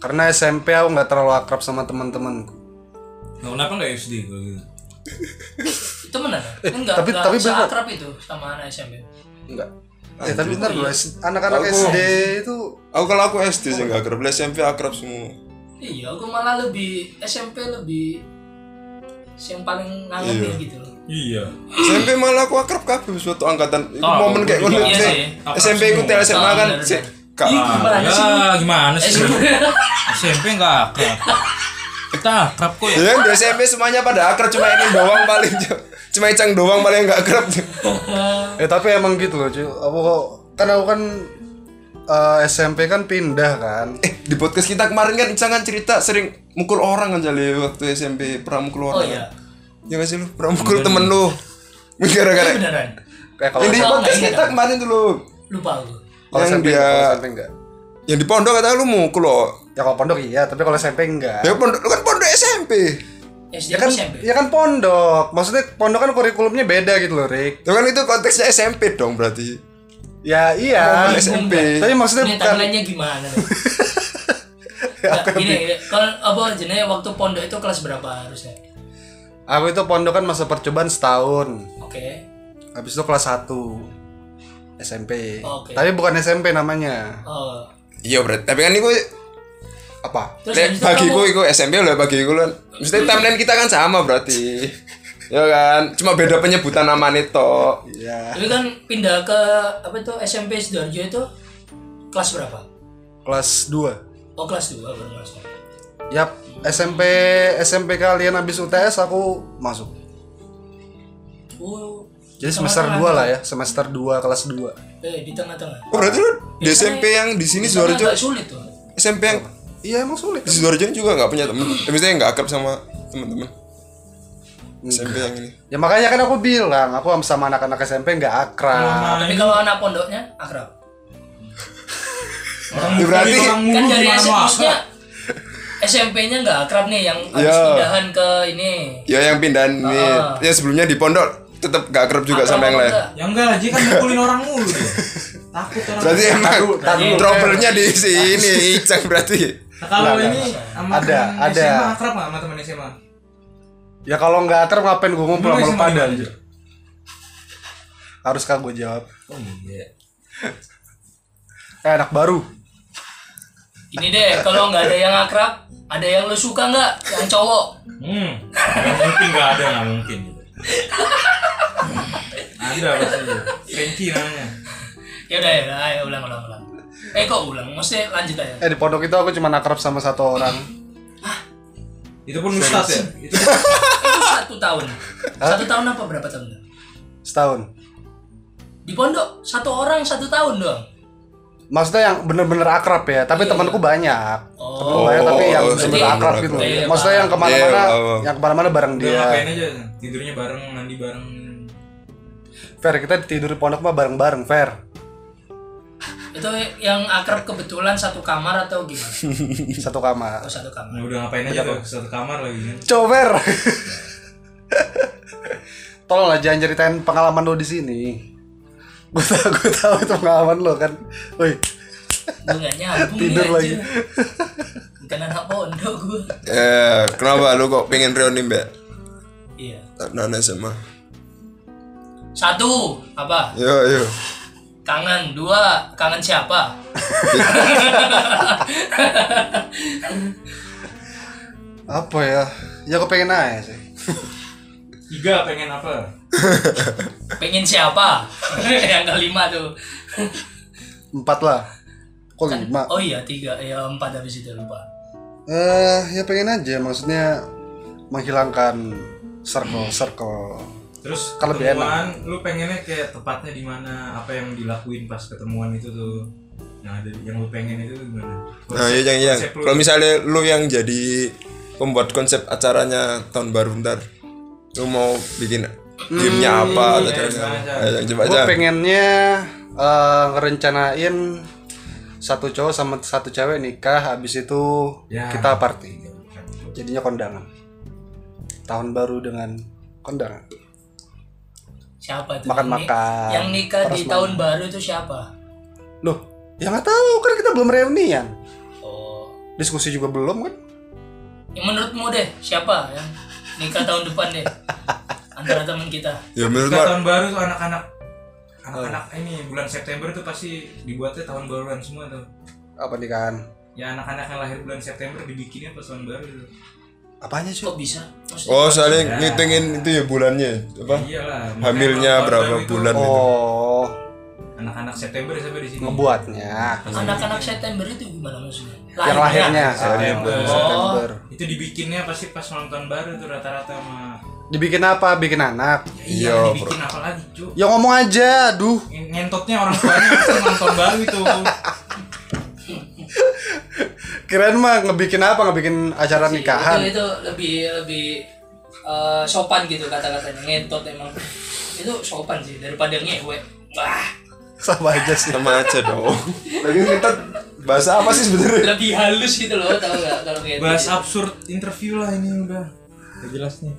Speaker 2: karena SMP aku nggak terlalu akrab sama teman-temanku
Speaker 4: Nah, kenapa nggak SD gua gitu?
Speaker 3: itu benar kan nggak
Speaker 2: Eh, tapi-
Speaker 3: nggak
Speaker 2: tapi benar.
Speaker 3: seakrab itu sama anak SMP
Speaker 2: enggak ya tapi bentar dulu anak-anak SD itu
Speaker 1: Aku kalau aku SD sih enggak akrab, Lah, SMP akrab semua.
Speaker 3: iya aku malah lebih SMP lebih yang paling ngangenin gitu loh [LAUGHS]
Speaker 4: Iya.
Speaker 1: SMP malah aku akrab kabeh suatu angkatan. Itu
Speaker 4: Ah,
Speaker 1: momen kayak
Speaker 4: aku
Speaker 1: ngono. sih.
Speaker 4: juga.
Speaker 3: Iya sih.
Speaker 4: Akrab
Speaker 1: SMP ku
Speaker 4: semua.
Speaker 1: tel SMA kan
Speaker 3: Ah,
Speaker 1: sih.
Speaker 3: bener.
Speaker 1: Kak,
Speaker 3: Ih, gimana
Speaker 4: Ya,
Speaker 3: sih
Speaker 4: gimana sih?
Speaker 3: SMP
Speaker 4: SMP nggak akrab. Kita akrab kok ya.
Speaker 1: Ya kan di SMP semuanya pada akrab cuma ini doang paling cuma Icang doang paling nggak akrab.
Speaker 2: Ya tapi emang gitu loh cuy. Aku kok kan aku kan eh, SMP kan pindah kan.
Speaker 1: Eh di podcast kita kemarin kan Icang kan cerita sering mukul orang kan jali waktu SMP pernah mukul orang.
Speaker 3: oh iya
Speaker 1: Ya nggak sih lu pernah mukul temen lu. Gara-gara
Speaker 3: beneran
Speaker 2: eh kalau
Speaker 1: yang di
Speaker 3: Kalau
Speaker 1: podcast
Speaker 3: nggak
Speaker 1: kita
Speaker 3: ingat.
Speaker 1: kemarin tuh lu
Speaker 3: lupa aku
Speaker 2: kalau
Speaker 1: yang
Speaker 2: SMP
Speaker 1: dia
Speaker 2: kalau SMP enggak
Speaker 1: yang di pondok katanya lu mukul lo
Speaker 2: ya kalau pondok iya tapi kalau SMP enggak
Speaker 1: ya pondok lu kan pondok SMP
Speaker 3: SD
Speaker 2: ya kan
Speaker 3: SMP
Speaker 2: ya kan pondok maksudnya pondok kan kurikulumnya beda gitu loh Rick
Speaker 1: ya kan itu konteksnya SMP dong berarti
Speaker 2: ya iya
Speaker 1: Pondok SMP
Speaker 2: tapi maksudnya
Speaker 3: ini
Speaker 2: bukan Ya,
Speaker 3: timelinenya
Speaker 2: [LAUGHS]
Speaker 3: gimana Nggak, gini gini. kalau apa jenenge waktu pondok itu kelas berapa harusnya
Speaker 2: aku itu pondok kan masa percobaan setahun
Speaker 3: oke
Speaker 2: habis itu kelas 1 SMP
Speaker 3: Oke.
Speaker 2: tapi bukan SMP namanya
Speaker 3: oh
Speaker 1: iya berarti tapi kan itu
Speaker 2: apa
Speaker 3: terus
Speaker 1: Lek,
Speaker 3: habis itu
Speaker 1: bagi
Speaker 3: kamu
Speaker 1: gue itu SMP lah bagi gue kan mesti timeline kita kan sama berarti ya kan cuma beda penyebutan nama Neto
Speaker 2: ya
Speaker 3: tapi kan pindah ke apa itu SMP sidoarjo itu kelas berapa
Speaker 2: kelas 2
Speaker 3: oh kelas 2 baru masuk
Speaker 2: yap SMP SMP kalian habis UTS aku masuk
Speaker 3: oh
Speaker 2: jadi semester 2 lah ya semester 2 kelas 2
Speaker 3: eh di tengah-tengah
Speaker 1: oh berarti lu di SMP yang di sini
Speaker 3: Karena
Speaker 1: Sidoarjo
Speaker 3: agak sulit tuh
Speaker 1: SMP yang
Speaker 2: iya emang sulit
Speaker 1: di Sidoarjo juga nggak punya temen Eh, maksudnya nggak akrab sama temen-temen SMP yang ini
Speaker 2: ya makanya kan aku bilang aku sama anak-anak SMP nggak
Speaker 4: Iya,
Speaker 2: akrab
Speaker 3: Ah, tapi kalau anak pondoknya akrab
Speaker 2: [LAUGHS]
Speaker 4: Orang
Speaker 1: Ya, berarti-
Speaker 4: mukul orang
Speaker 3: kan
Speaker 4: mulu
Speaker 3: dari
Speaker 4: gimana
Speaker 3: SMP
Speaker 4: mau
Speaker 3: maksudnya
Speaker 4: akrab?
Speaker 3: SMP-nya nggak akrab nih yang habis
Speaker 1: Iya.
Speaker 3: pindahan ke ini
Speaker 1: ya yang pindahan ini yang sebelumnya di pondok tetap gak akrab juga
Speaker 3: Akrab
Speaker 1: sama yang
Speaker 3: apa
Speaker 1: lain
Speaker 3: enggak?
Speaker 4: Ya enggak lah, dia kan mukulin orang mulu dia. Takut orang.
Speaker 1: berarti emang
Speaker 2: tar dulu.
Speaker 1: [LAUGHS] trouble-nya di sini Icang berarti
Speaker 4: Nah, kalau
Speaker 2: Nggak,
Speaker 4: ini
Speaker 2: nggak.
Speaker 4: sama
Speaker 2: Ada,
Speaker 4: teman
Speaker 2: ada.
Speaker 4: SMA akrab enggak sama teman SMA?
Speaker 2: ya kalau nggak akrab ngapain gue ngumpul
Speaker 4: Lu
Speaker 2: sama lu
Speaker 4: SMA
Speaker 2: pada
Speaker 4: gimana?
Speaker 2: anjir? haruskah gue jawab
Speaker 4: Oh iya.
Speaker 2: eh, anak baru
Speaker 3: ini deh kalau nggak ada yang akrab ada yang lo suka nggak yang cowok
Speaker 4: Hmm. Enggak mungkin enggak ada, enggak mungkin. gitu. ada pasti. Kenci namanya.
Speaker 3: ya udah ya udah, ayo ulang ulang ulang eh kok ulang maksudnya lanjut aja
Speaker 2: eh di pondok itu aku cuma akrab sama satu orang
Speaker 4: Itu pun ustaz ya.
Speaker 3: itu
Speaker 4: Itu
Speaker 3: satu tahun satu tahun apa berapa tahun
Speaker 2: setahun
Speaker 3: di pondok satu orang satu tahun doang
Speaker 2: maksudnya yang bener-bener akrab ya tapi
Speaker 4: Iya.
Speaker 2: temanku banyak
Speaker 3: Oh.
Speaker 2: Temanku banyak tapi yang
Speaker 1: Oh,
Speaker 2: bener-bener
Speaker 3: jadi-
Speaker 2: akrab gitu loh
Speaker 3: Iya,
Speaker 2: maksudnya yang kemana-mana
Speaker 1: Iya, paham.
Speaker 2: yang kemana-mana bareng
Speaker 4: udah
Speaker 2: dia
Speaker 4: ngapain aja tidurnya bareng, mandi bareng.
Speaker 2: fair kita tidur di pondok mah bareng-bareng fair
Speaker 3: itu yang akrab kebetulan satu kamar atau gimana
Speaker 2: satu kamar
Speaker 3: oh, satu kamar
Speaker 4: Nah, udah ngapain aja tuh satu kamar lagi kan.
Speaker 2: coba fair tolonglah jangan ceritain pengalaman lo di sini gue tahu gue tahu itu pengalaman lo kan woi
Speaker 3: gue nggak nyambung
Speaker 2: Tidur
Speaker 3: nih,
Speaker 2: lagi.
Speaker 3: anjir. [LAUGHS] bukan anak pondok gue
Speaker 1: eh kenapa lu kok pengen reuni mbak
Speaker 3: iya
Speaker 1: Nana SMA
Speaker 3: satu apa
Speaker 1: yo yo
Speaker 3: kangen dua kangen siapa
Speaker 2: apa ya ya aku pengen aja sih
Speaker 4: Tiga pengen apa?
Speaker 3: pengen siapa [LAUGHS] yang kelima tuh
Speaker 2: empat lah kok
Speaker 3: Kan-
Speaker 2: lima
Speaker 3: oh iya tiga ya empat habis itu lupa
Speaker 2: Eh, ya pengen aja maksudnya menghilangkan circle circle.
Speaker 4: Terus
Speaker 2: Kalau lebih
Speaker 4: ketemuan, lu pengennya kayak tepatnya di mana? Apa yang dilakuin pas ketemuan itu tuh? Yang ada yang lu pengen itu gimana?
Speaker 1: nah iya yang yang
Speaker 4: konsep lu-
Speaker 1: kalau misalnya lu yang jadi pembuat konsep acaranya tahun baru ntar lu mau bikin gamenya apa atau
Speaker 4: iya,
Speaker 1: acaranya apa?
Speaker 4: iya,
Speaker 1: Ayo, Cang, coba
Speaker 2: Gue
Speaker 1: aja
Speaker 2: pengennya eh, ngerencanain satu cowok sama satu cewek nikah habis itu
Speaker 4: Ya.
Speaker 2: kita party. Jadinya kondangan. Tahun baru dengan kondangan.
Speaker 3: siapa tuh
Speaker 2: Makan-makan.
Speaker 3: yang nikah di tahun baru itu siapa
Speaker 2: Loh, ya nggak tahu kan kita belum reunian.
Speaker 3: oh
Speaker 2: Diskusi juga belum kan?
Speaker 3: yang menurutmu deh siapa yang nikah tahun depan
Speaker 2: [LAUGHS]
Speaker 3: deh antara teman kita
Speaker 1: ya menurut Mar-
Speaker 4: Kita
Speaker 1: Oh.
Speaker 4: tahun baru tuh anak-anak anak-anak ini bulan September tuh pasti dibuatnya tahun baruan semua tuh.
Speaker 2: Apa Kan? nikahan?
Speaker 4: Ya anak-anak yang lahir bulan September dibikinnya pas tahun baru tuh.
Speaker 2: Apanya sih?
Speaker 3: kok bisa Maksudnya,
Speaker 1: oh soalnya ngitungin itu ya bulannya apa
Speaker 4: Iyalah. makanya
Speaker 1: hamilnya
Speaker 4: tahun
Speaker 1: berapa
Speaker 4: baru itu
Speaker 1: bulan itu
Speaker 2: Oh,
Speaker 4: Anak-anak September sampai di sini.
Speaker 2: ngebuatnya.
Speaker 3: anak-anak September itu gimana maksudnya
Speaker 2: Yang lahirnya,
Speaker 4: lahirnya bulan
Speaker 2: bulan September.
Speaker 4: Itu dibikinnya pasti pas malam tahun baru tuh rata-rata sama
Speaker 2: Dibikin apa? Bikin anak.
Speaker 4: Ya,
Speaker 1: Iya,
Speaker 4: iya, dibikin apa lagi, Cuk?
Speaker 2: Ya ngomong aja, aduh.
Speaker 4: Ngentotnya orang tuanya pasti malam tahun baru
Speaker 1: [LAUGHS]
Speaker 4: itu.
Speaker 2: Kirain mah ngebikin apa? Ngebikin acara
Speaker 3: iya,
Speaker 2: nikahan.
Speaker 3: itu, itu lebih lebih eh, sopan gitu kata-katanya ngentot emang itu sopan sih daripada ngewe wah
Speaker 2: sama aja sih
Speaker 1: sama aja dong lagi kita bahasa apa sih sebenarnya
Speaker 3: lebih halus gitu loh tau gak kalau kayak
Speaker 4: bahas
Speaker 3: gitu.
Speaker 4: absurd interview lah ini udah Gak jelas nih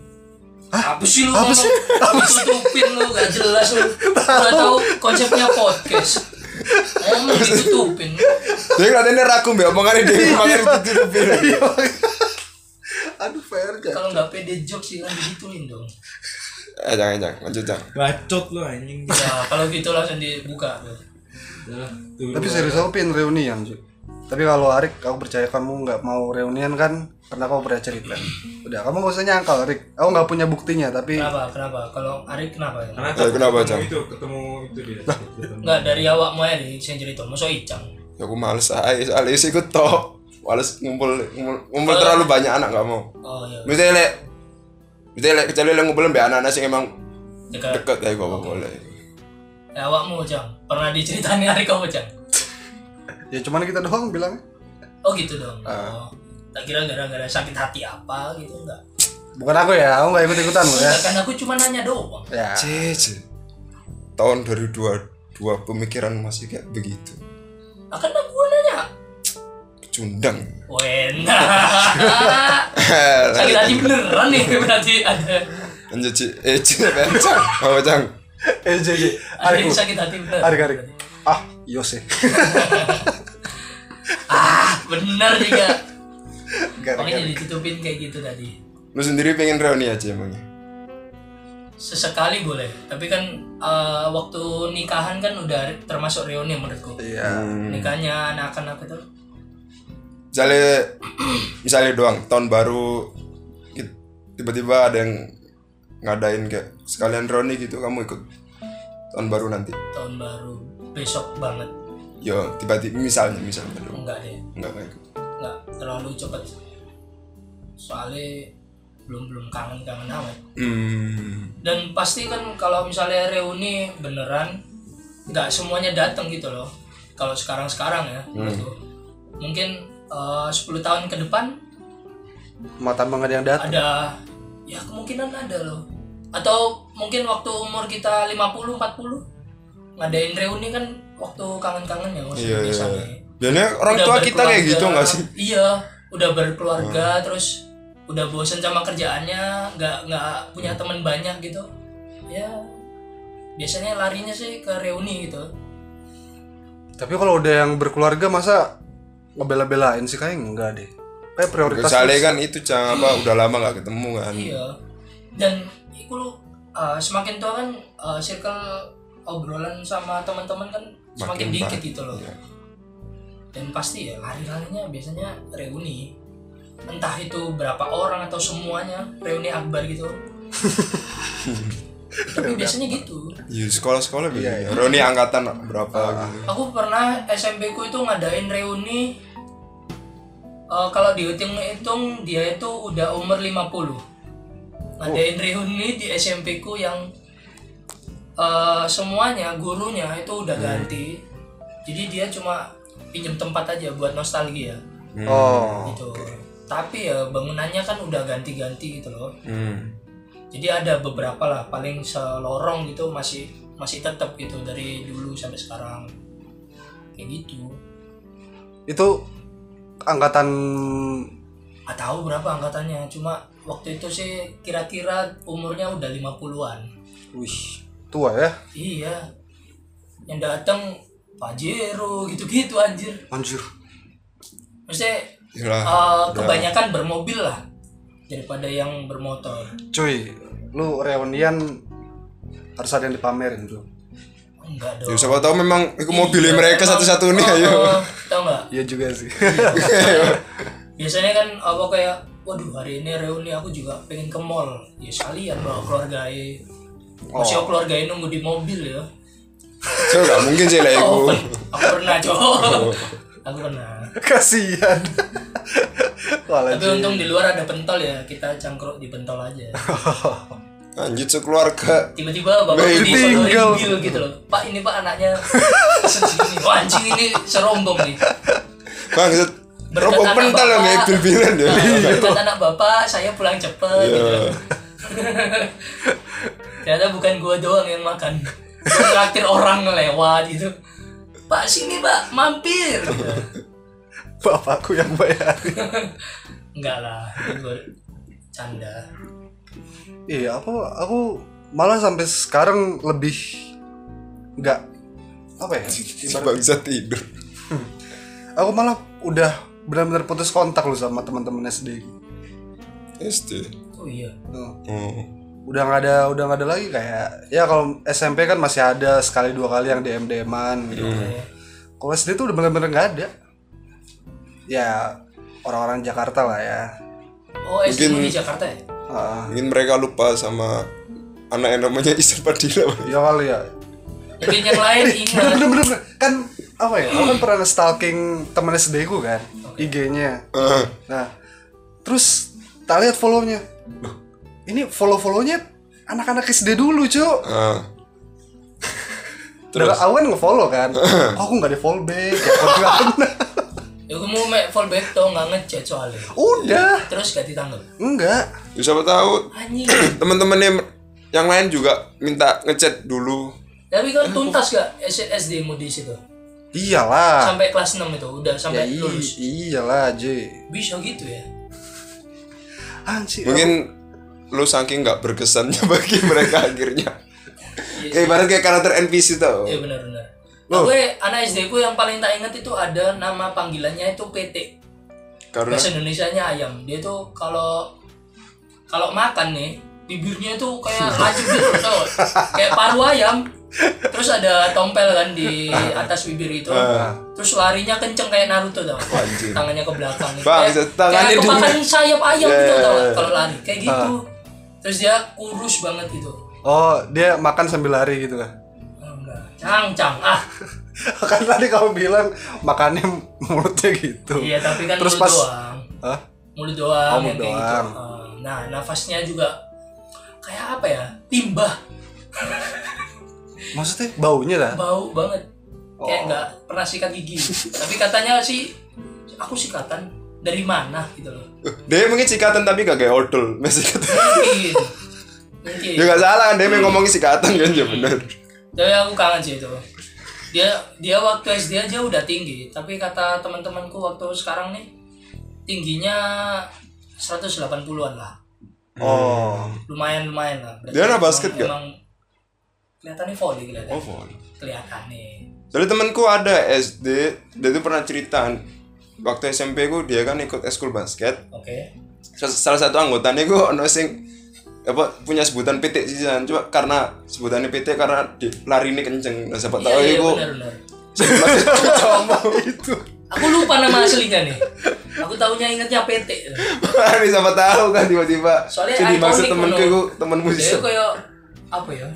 Speaker 3: apa sih lu apa sih tutupin lu gak jelas lu gak tahu konsepnya podcast emang ditutupin
Speaker 1: jadi kelihatannya rakum ya omongannya dia
Speaker 2: Iya.
Speaker 1: omongannya putih-putih
Speaker 2: aduh fair gak
Speaker 3: kalau nggak pede jokes sih kan digituin dong
Speaker 1: eh jangan jangan lanjut jangan
Speaker 4: bacot lu anjing
Speaker 3: ya kalau gitu langsung dibuka
Speaker 4: Udah lah, tuh.
Speaker 2: tapi serius aku pengen reunian Ju. tapi kalau Arik aku percaya kamu nggak mau reunian kan karena kamu pernah cerita udah kamu gak usah nyangkal Arik aku nggak punya buktinya tapi
Speaker 3: kenapa kenapa kalau Arif kenapa ya?
Speaker 4: Karena
Speaker 1: Eh, kenapa,
Speaker 4: ketemu
Speaker 1: Cang?
Speaker 4: Itu ketemu itu dia. Gitu. Ketemu.
Speaker 3: nggak dari awak mau ya saya cerita mau icang
Speaker 1: ya aku males aja soalnya isi ku tok males ngumpul ngumpul, ngumpul terlalu banyak anak gak mau
Speaker 3: oh iya
Speaker 1: misalnya lek misalnya lek kecuali lek ngumpul mbak anak-anak sih emang
Speaker 3: dekat
Speaker 1: deket ya gua boleh
Speaker 3: ya, awakmu cang pernah diceritain [LAUGHS] Arif kamu cang
Speaker 2: ya cuman kita doang bilang
Speaker 3: oh gitu dong oh. tak kira gara-gara sakit hati apa gitu enggak
Speaker 2: bukan aku ya aku nggak ikut ikutan loh ya
Speaker 3: Enggak, kan aku cuma nanya doang
Speaker 2: ya
Speaker 1: cece tahun 2022 pemikiran masih kayak begitu
Speaker 3: akan aku nanya
Speaker 1: cundang [LAUGHS]
Speaker 3: Wena sakit
Speaker 1: lanjut
Speaker 3: hati beneran nih berarti ada
Speaker 1: Ci. eh cece apa cang apa cang
Speaker 2: eh jadi
Speaker 3: ada
Speaker 2: Arik
Speaker 3: yang
Speaker 2: lu.
Speaker 3: sakit hati beneran
Speaker 2: Arik Arik ah yo sih
Speaker 3: ah bener juga
Speaker 2: Gak, gak,
Speaker 3: makanya ditutupin kayak gitu tadi
Speaker 1: lu sendiri pengen reuni aja emangnya
Speaker 3: sesekali boleh tapi kan eh, waktu nikahan kan udah termasuk reuni menurutku
Speaker 2: iya
Speaker 1: Hmm.
Speaker 3: nikahnya anak-anak itu
Speaker 1: misalnya misalnya doang tahun baru ki- tiba-tiba ada yang ngadain kayak sekalian reuni gitu kamu ikut tahun baru nanti
Speaker 3: tahun baru besok banget
Speaker 1: yo tiba-tiba misalnya misalnya doang
Speaker 3: enggak deh
Speaker 1: nggak nggak ikut
Speaker 3: enggak terlalu cepet soalnya belum belum kangen kangen amat
Speaker 1: hmm.
Speaker 3: dan pasti kan kalau misalnya reuni beneran nggak semuanya datang gitu loh kalau sekarang sekarang ya
Speaker 1: Hmm.
Speaker 3: menurutku. mungkin eh, 10 tahun ke depan
Speaker 2: mau tambah nggak ada yang datang
Speaker 3: ada ya kemungkinan ada loh atau mungkin waktu umur kita 50 40 ngadain reuni kan waktu kangen-kangen ya maksudnya
Speaker 1: iya iya
Speaker 3: misalnya.
Speaker 1: biasanya orang
Speaker 3: Udah
Speaker 1: tua kita kayak
Speaker 3: berkeluarga,
Speaker 1: gitu nggak sih Hmm.
Speaker 3: Iya, udah berkeluarga terus udah bosen sama kerjaannya, nggak nggak
Speaker 1: Hmm.
Speaker 3: punya teman banyak gitu. Ya biasanya larinya sih ke reuni gitu.
Speaker 2: tapi kalau udah yang berkeluarga masa ngebela-belain sih kayaknya enggak deh kayak prioritas
Speaker 1: misalnya kan itu cang apa udah lama nggak ketemu kan
Speaker 3: Iya. Dan itu uh, semakin tua kan uh, circle obrolan sama teman-teman kan semakin
Speaker 1: Makin
Speaker 3: dikit
Speaker 1: banyak,
Speaker 3: gitu loh.
Speaker 1: iya.
Speaker 3: Dan pasti ya lari-larinya biasanya reuni. Entah itu berapa orang atau semuanya reuni akbar
Speaker 1: [LAUGHS]
Speaker 3: gitu. Tapi biasanya gitu.
Speaker 1: Iya, sekolah-sekolah biasanya
Speaker 3: iya.
Speaker 1: reuni angkatan berapa
Speaker 3: Ah.
Speaker 1: gitu
Speaker 3: Aku pernah SMP ku itu ngadain reuni eh, kalau dihitung-hitung dia itu udah umur 50 Ngadain reuni di SMP ku yang eh, semuanya gurunya itu udah ganti Jadi dia cuma pinjem tempat aja buat nostalgia
Speaker 2: oh
Speaker 3: gitu Tapi ya bangunannya kan udah ganti-ganti gitu loh
Speaker 1: hmm.
Speaker 3: jadi ada beberapa lah paling selorong gitu masih masih tetap gitu dari dulu sampai sekarang kayak gitu
Speaker 2: itu angkatan
Speaker 3: nggak tahu berapa angkatannya cuma waktu itu sih kira-kira umurnya udah 50-an
Speaker 2: wih tua ya
Speaker 3: iya yang datang Pajero gitu-gitu anjir
Speaker 2: anjir
Speaker 3: maksudnya
Speaker 1: Yalah,
Speaker 3: eh,
Speaker 1: udah.
Speaker 3: kebanyakan bermobil lah daripada yang bermotor
Speaker 2: cuy lu reunian harus ada yang dipamerin tuh
Speaker 3: enggak
Speaker 1: Ya,
Speaker 3: dong
Speaker 1: siapa tahu memang itu mobilnya
Speaker 3: Iya,
Speaker 1: mereka
Speaker 3: emang-
Speaker 1: satu-satunya
Speaker 3: oh,
Speaker 1: ayo.
Speaker 3: oh, tau nggak
Speaker 2: iya juga sih [LAUGHS]
Speaker 3: biasanya kan apa kayak waduh hari ini reuni aku juga pengen ke mall ya sekalian bawa keluarga ya. masih
Speaker 1: Oh.
Speaker 3: keluarga ya nunggu di mobil ya
Speaker 1: So nggak mungkin sih lah aku.
Speaker 3: oh, [LAUGHS] aku pernah
Speaker 1: [LAUGHS]
Speaker 3: cowok aku pernah
Speaker 2: kasihan [LAUGHS] Walau
Speaker 3: tapi untung di luar ada pentol ya kita cangkruk di pentol
Speaker 1: [LAUGHS]
Speaker 3: aja
Speaker 1: Lanjut sekeluarga.
Speaker 3: tiba-tiba bapak
Speaker 1: Bayi
Speaker 3: ini
Speaker 2: tinggal.
Speaker 3: fotoin bil gitu loh pak ini pak
Speaker 1: [LAUGHS]
Speaker 3: anaknya segini wah anjing ini serombong nih
Speaker 1: Bangset.
Speaker 3: Berkat
Speaker 1: Robo
Speaker 3: anak
Speaker 1: pental yang
Speaker 3: bapak. Iya.
Speaker 1: kayak bil-bilan ya. Iya.
Speaker 3: Nah, berkat anak bapak saya pulang cepet gitu ternyata bukan gua doang yang makan Gua traktir orang lewat gitu pak sini pak mampir
Speaker 2: Bapakku yang bayar.
Speaker 3: enggak lah itu gua canda
Speaker 2: Iya, aku aku malah sampai sekarang lebih nggak apa ya?
Speaker 1: Si Bang bisa tidur
Speaker 2: Aku malah udah benar-benar putus kontak loh sama teman-teman SD.
Speaker 1: SD
Speaker 3: oh iya
Speaker 2: Tuh.
Speaker 1: hmm.
Speaker 2: Udah nggak ada udah nggak ada lagi kayak ya kalau SMP kan masih ada sekali dua kali yang DM DM-an gitu.
Speaker 3: Kayak,
Speaker 2: Kalau SD tuh udah benar-benar nggak ada. Ya orang-orang Jakarta lah ya.
Speaker 3: oh SD
Speaker 1: Mungkin-
Speaker 3: lu di Jakarta ya
Speaker 2: Ah,
Speaker 1: mungkin mereka lupa sama anak yang namanya Isan Padilla
Speaker 2: iya kali ya. Eh,
Speaker 3: mungkin yang lain
Speaker 2: bener
Speaker 3: ingat
Speaker 2: bener bener bener. kan apa ya aku kan pernah nge-stalking temen SD ku kan IG-nya
Speaker 1: Eh,
Speaker 2: nah terus tak lihat follow-nya Loh, ini follow follownya anak-anak SD dulu cu
Speaker 1: eh.
Speaker 2: terus awan nge-follow [LAUGHS] kan oh, aku nggak di follow back ya, aku nggak pernah
Speaker 3: ya kamu make fallback tau nggak ngechat soalnya
Speaker 2: udah
Speaker 3: terus gak ditanggap
Speaker 2: enggak
Speaker 1: Ya, siapa tahu
Speaker 3: anjing
Speaker 1: teman-temannya yang lain juga minta ngechat dulu
Speaker 3: tapi kan tuntas gak SD mu di situ
Speaker 1: Ah.
Speaker 2: iyalah
Speaker 3: sampai kelas 6 itu udah
Speaker 2: ya,
Speaker 3: sampai
Speaker 1: iya,
Speaker 2: i-
Speaker 3: lulus
Speaker 2: iyalah J
Speaker 3: bisa gitu ya
Speaker 2: anjir
Speaker 1: mungkin lu saking nggak berkesannya [LAUGHS] bagi mereka akhirnya kayak ibarat kayak karakter NPC tau
Speaker 3: Iya benar-benar.
Speaker 1: Oh.
Speaker 3: Gue anak SD ku yang paling tak inget itu ada nama panggilannya itu PT.
Speaker 1: karena
Speaker 3: Bahasa Indonesianya ayam. Dia tuh kalau kalau makan nih bibirnya tuh
Speaker 1: [LAUGHS]
Speaker 3: kayak laju gitu loh, tau. Kayak paru ayam. Terus ada tompel kan di atas bibir itu. Terus larinya kenceng kayak Naruto tau.
Speaker 1: Anjir.
Speaker 3: Tangannya ke belakang. nih.
Speaker 1: Oh, Bang,
Speaker 3: kayak,
Speaker 1: tangannya
Speaker 3: kayak
Speaker 1: di-
Speaker 3: kemakan sayap ayam gitu
Speaker 1: Yeah.
Speaker 3: tau kalau lari. Kayak gitu. Terus dia kurus banget gitu.
Speaker 2: oh dia makan sambil lari gitu lah
Speaker 3: Oh, enggak. Cang-cang. Ah,
Speaker 2: [LAUGHS] kan tadi kamu bilang makannya mulutnya gitu
Speaker 3: iya tapi kan
Speaker 2: terus
Speaker 3: lu
Speaker 2: pas
Speaker 3: doang.
Speaker 2: Hah?
Speaker 3: mulut
Speaker 2: Oh,
Speaker 3: doang yang
Speaker 2: mulut
Speaker 3: kayak
Speaker 2: doang.
Speaker 3: gitu. Uh, nah nafasnya juga kayak apa ya timbah
Speaker 2: maksudnya baunya lah
Speaker 3: bau banget kayak
Speaker 2: Oh.
Speaker 3: nggak pernah sikat
Speaker 2: [LAUGHS]
Speaker 3: gigi tapi katanya sih aku sikatan dari mana gitu
Speaker 2: [LAUGHS]
Speaker 3: loh
Speaker 1: dia Eh, mungkin cikatan tapi gak kayak hodl masih sikatan
Speaker 3: mungkin mungkin
Speaker 1: [LAUGHS] ya gak salah kan dia yang ngomongin sikatan kan ya bener
Speaker 3: tapi aku kangen sih itu dia dia waktu SD aja udah tinggi tapi kata teman-temanku waktu sekarang nih tingginya 180-an lah
Speaker 2: oh
Speaker 3: lumayan lumayan lah Berarti
Speaker 1: Dia anak
Speaker 3: emang-
Speaker 1: basket nggak? Oh,
Speaker 3: emang kelihatannya volley kelihatan
Speaker 1: volley.
Speaker 3: kelihatan nih
Speaker 1: Dari temanku ada SD, dia tuh pernah cerita waktu SMP ku dia kan ikut eskul basket.
Speaker 3: Oke.
Speaker 1: Sa- Salah satu anggotanya ku ono sing apa punya sebutan PT sisan. Cuma karena sebutannya PT karena di, lari ini kenceng. Nah, siapa tahu
Speaker 3: iya, iya,
Speaker 1: iku [LAUGHS]
Speaker 3: benar-benar.
Speaker 1: sama itu.
Speaker 3: Aku lupa nama aslinya nih. Aku tahunya ingatnya PT.
Speaker 1: Ini siapa tahu kan tiba-tiba.
Speaker 3: Soalnya
Speaker 1: Jadi
Speaker 3: ikonik
Speaker 1: maksud temanku
Speaker 3: ngono.
Speaker 1: ku temanmu
Speaker 3: Dia
Speaker 1: sisan.
Speaker 3: kayak apa ya?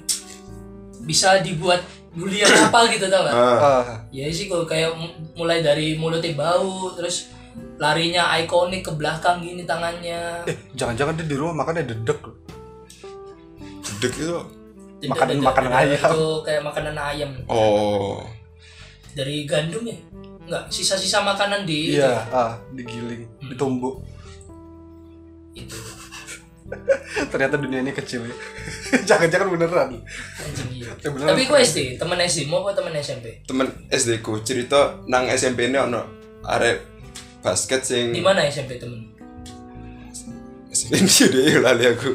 Speaker 3: Bisa dibuat bulian apa gitu tau gak?
Speaker 1: Ah,
Speaker 2: Ah.
Speaker 3: Ya sih kalau kayak mu- mulai dari mulutnya bau, terus larinya ikonik ke belakang gini tangannya.
Speaker 2: Eh, jangan-jangan dia di rumah makannya dedek. loh.
Speaker 1: gedek itu.
Speaker 3: Dedek-
Speaker 2: makanan-
Speaker 3: dedek-
Speaker 2: makanan
Speaker 3: dedek
Speaker 2: ayam.
Speaker 3: Itu gitu, kayak makanan ayam
Speaker 1: Oh.
Speaker 3: dari gandum ya? Enggak, sisa-sisa makanan di
Speaker 2: Iya, ah, digiling, ditumbuk.
Speaker 3: Hmm. itu. itu.
Speaker 2: [LAUGHS] Ternyata dunia ini kecil ya. [LAUGHS] jangan-jangan beneran.
Speaker 3: Anjing,
Speaker 2: [LAUGHS]
Speaker 3: iya.
Speaker 2: Ya, beneran.
Speaker 3: Tapi gue SD, temen SD mau apa temen SMP?
Speaker 1: Temen SD ku cerita nang SMP ini ono arek basket sing
Speaker 3: Di mana SMP temen?
Speaker 1: Sering [LAUGHS] dia deh lali aku.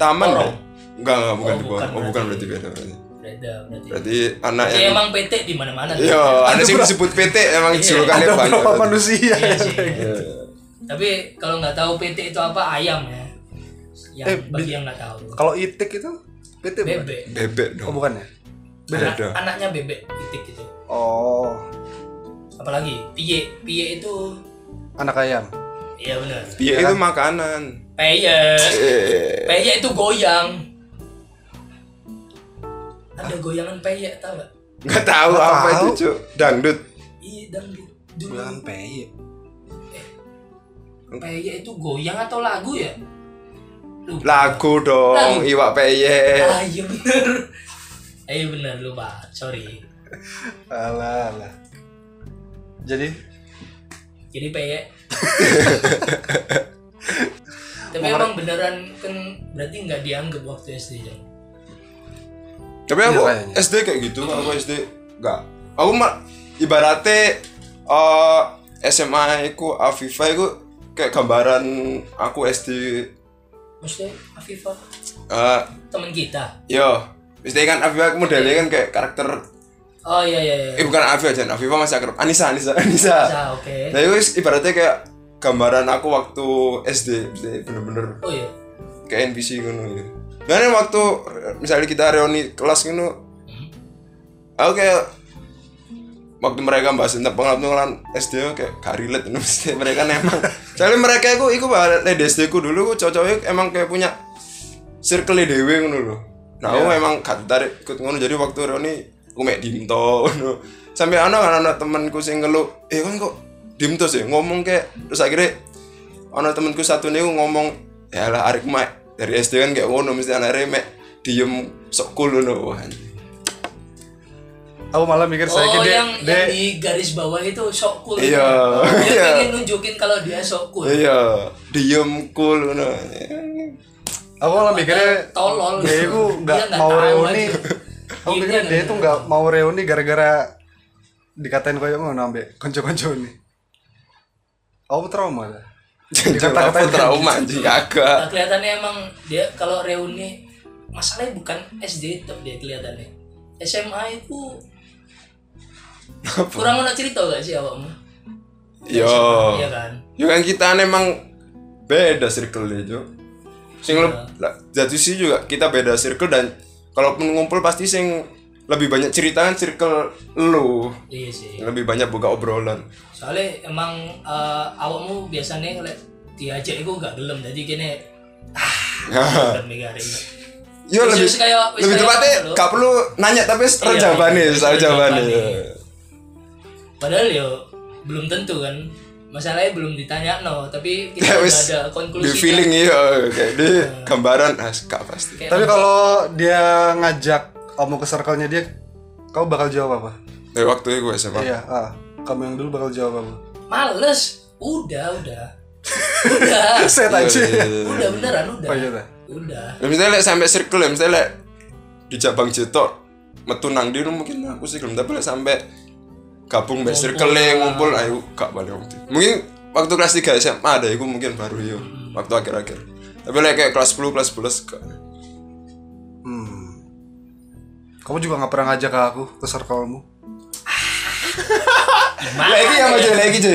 Speaker 1: Taman
Speaker 3: Porong.
Speaker 1: kan? Enggak, enggak, bukan
Speaker 3: Oh,
Speaker 1: di bawah.
Speaker 3: bukan,
Speaker 1: Oh, bukan berarti
Speaker 3: berarti.
Speaker 1: beda berarti.
Speaker 3: Beda berarti.
Speaker 1: Berarti anak
Speaker 3: Ya
Speaker 1: yang
Speaker 3: emang PT di mana-mana.
Speaker 1: Yo,
Speaker 2: Iya.
Speaker 3: tuh.
Speaker 1: ada sih disebut PT emang
Speaker 3: Iya,
Speaker 1: julukannya
Speaker 2: Ada
Speaker 1: banyak.
Speaker 2: berapa manusia?
Speaker 3: Iya
Speaker 2: [LAUGHS]
Speaker 3: sih.
Speaker 1: Iya.
Speaker 3: Tapi kalau nggak tahu PT itu apa ayam ya. Yang
Speaker 2: Eh,
Speaker 3: bagi
Speaker 2: bi-
Speaker 3: yang nggak tahu.
Speaker 2: Kalau itik itu PT bukan?
Speaker 3: Bebek.
Speaker 1: Bebek
Speaker 2: Oh,
Speaker 1: dong.
Speaker 2: bukan ya?
Speaker 3: Anak,
Speaker 1: Beda.
Speaker 3: anaknya bebek titik gitu.
Speaker 2: Oh,
Speaker 3: Apalagi piye. Piye itu
Speaker 2: anak ayam.
Speaker 3: Iya benar.
Speaker 1: Iya itu makanan.
Speaker 3: Peye.
Speaker 1: Eh,
Speaker 3: Peye itu goyang. Ada goyangan peye tau gak?
Speaker 1: Enggak tahu
Speaker 2: Nggak
Speaker 1: apa itu,
Speaker 2: tahu.
Speaker 1: Cuk. Dangdut.
Speaker 3: Iya dangdut. Dulu
Speaker 2: Bukan PY.
Speaker 3: peye itu goyang atau lagu ya? Lupa.
Speaker 1: Lagu dong,
Speaker 3: Lagu.
Speaker 1: iwak peyek.
Speaker 3: Ah, iya benar. Iya benar lupa. Sorry.
Speaker 2: Alah, alah. Jadi,
Speaker 1: [LAUGHS]
Speaker 3: Jadi peyek. Tapi memang beneran kan berarti nggak dianggap waktu SD Jam.
Speaker 1: Tapi aku
Speaker 2: Iya, kayaknya.
Speaker 1: SD kayak gitu, aku SD enggak. Aku mah ibaratnya eh, SMA ku Afifa ku kayak gambaran aku SD
Speaker 3: Maksudnya Afifa
Speaker 1: eh
Speaker 3: teman kita.
Speaker 1: yo SD kan Afifa aku modelnya kan kayak karakter
Speaker 3: Oh iya iya iya.
Speaker 1: eh bukan Afifa aja, Afifa masih akrab. Anissa, Anissa, Anissa.
Speaker 3: Bisa, oke.
Speaker 1: Nah itu ibaratnya kayak gambaran aku waktu SD, SD bener-bener
Speaker 3: Oh iya.
Speaker 1: kayak NPC ngono gitu. Dan waktu misalnya kita reuni kelas ngono aku kayak waktu mereka bahas tentang pengalaman SD aku kayak gak relate ngono [LAUGHS] mesti mereka emang. Soalnya mereka aku iku bahas di SD ku dulu ku cocoknya emang kayak punya circle dewe ngono lho. Nah, aku emang gak tertarik ikut ngono jadi waktu reuni aku mek dimto ngono. Sampai ana kan, ana temanku sing ngeluk, "Eh kan kok dimto sih ngomong kayak terus akhirnya ana temanku satu niku ngomong, "Ya lah arek mek dari SD kan kayak ngono mesti anake mek diem sok cool ngono." Wah, anjing.
Speaker 2: Aku malah mikir saya
Speaker 3: Oh
Speaker 2: dia,
Speaker 3: yang,
Speaker 2: dia
Speaker 3: yang di garis bawah itu sok cool.
Speaker 1: Iya,
Speaker 3: Dia
Speaker 1: iya.
Speaker 3: pengen nunjukin kalau dia sok cool.
Speaker 1: Iya, diem cool ngono.
Speaker 2: aku malah mikirnya
Speaker 3: tolol
Speaker 2: dia
Speaker 3: gitu.
Speaker 2: itu nggak
Speaker 3: Dia nggak
Speaker 2: mau
Speaker 3: tahu
Speaker 2: reuni
Speaker 3: aja.
Speaker 2: aku
Speaker 3: Iya,
Speaker 2: pikir
Speaker 3: dia
Speaker 2: dia
Speaker 3: nggak
Speaker 2: itu nggak mau reuni gara-gara dikatain kayak ngono ambek konco-konco ini aku trauma dah
Speaker 1: Jangan
Speaker 3: kan
Speaker 2: Dikata-katain
Speaker 1: takut trauma anjing
Speaker 3: Nah,
Speaker 1: kagak.
Speaker 3: kelihatannya emang dia kalau reuni masalahnya bukan SD itu dia kelihatannya. SMA itu kurang mau cerita gak sih awakmu?
Speaker 1: Yo.
Speaker 3: Iya kan.
Speaker 1: Ya kan kita emang beda circle itu. Sing
Speaker 3: Iya.
Speaker 1: leb- lah, jadi sih juga kita beda circle dan kalaupun ngumpul pasti sing lebih banyak cerita kan circle lu
Speaker 3: Iya sih.
Speaker 1: lebih banyak buka obrolan
Speaker 3: Soalnya emang eh, awakmu biasanya kalau diajak itu gak gelem jadi kene
Speaker 1: [LAUGHS]
Speaker 3: ah gelem iki hari ini.
Speaker 1: Yo
Speaker 3: Wis-
Speaker 1: lebih
Speaker 3: wis kayak- wis
Speaker 1: lebih
Speaker 3: kayak apa
Speaker 1: tepatnya
Speaker 3: lo?
Speaker 1: gak perlu nanya tapi soal
Speaker 3: Iya,
Speaker 1: jawabannya
Speaker 3: iya,
Speaker 1: soal
Speaker 3: soal
Speaker 1: jawabannya.
Speaker 3: jawabannya. Padahal yo belum tentu kan. Masalahnya belum ditanya no, tapi kita
Speaker 1: Ya,
Speaker 3: udah
Speaker 1: wis.
Speaker 3: ada
Speaker 1: di
Speaker 3: konklusi. kan.
Speaker 1: feeling iya kayak di gambaran ah gak pasti
Speaker 3: Kayak-
Speaker 2: tapi kalau dia ngajak kamu ke circle-nya dia kau bakal jawab apa
Speaker 1: dari waktu itu gue SMA
Speaker 2: iya ah kamu yang dulu bakal jawab apa
Speaker 3: Males. Udah, udah. udah.
Speaker 2: [LAUGHS] set
Speaker 1: Iya,
Speaker 2: aja
Speaker 1: Eh,
Speaker 3: Udah beneran udah.
Speaker 2: Oh, iya, udah.
Speaker 3: Udah.
Speaker 1: Ya, misalnya like, sampai circle ya, misalnya like, di cabang jetok metu nang dino mungkin aku sih gelem tapi like, sampai gabung mbek circle ngumpul ayo gak balik waktu. Mungkin waktu kelas 3 SMA ada iku mungkin baru yo waktu akhir-akhir. Tapi like, kayak kelas 10 kelas 11 gak.
Speaker 2: hmm. kamu juga nggak pernah ngajak aku ke circle-mu
Speaker 1: Lagi yang aja lagi aja.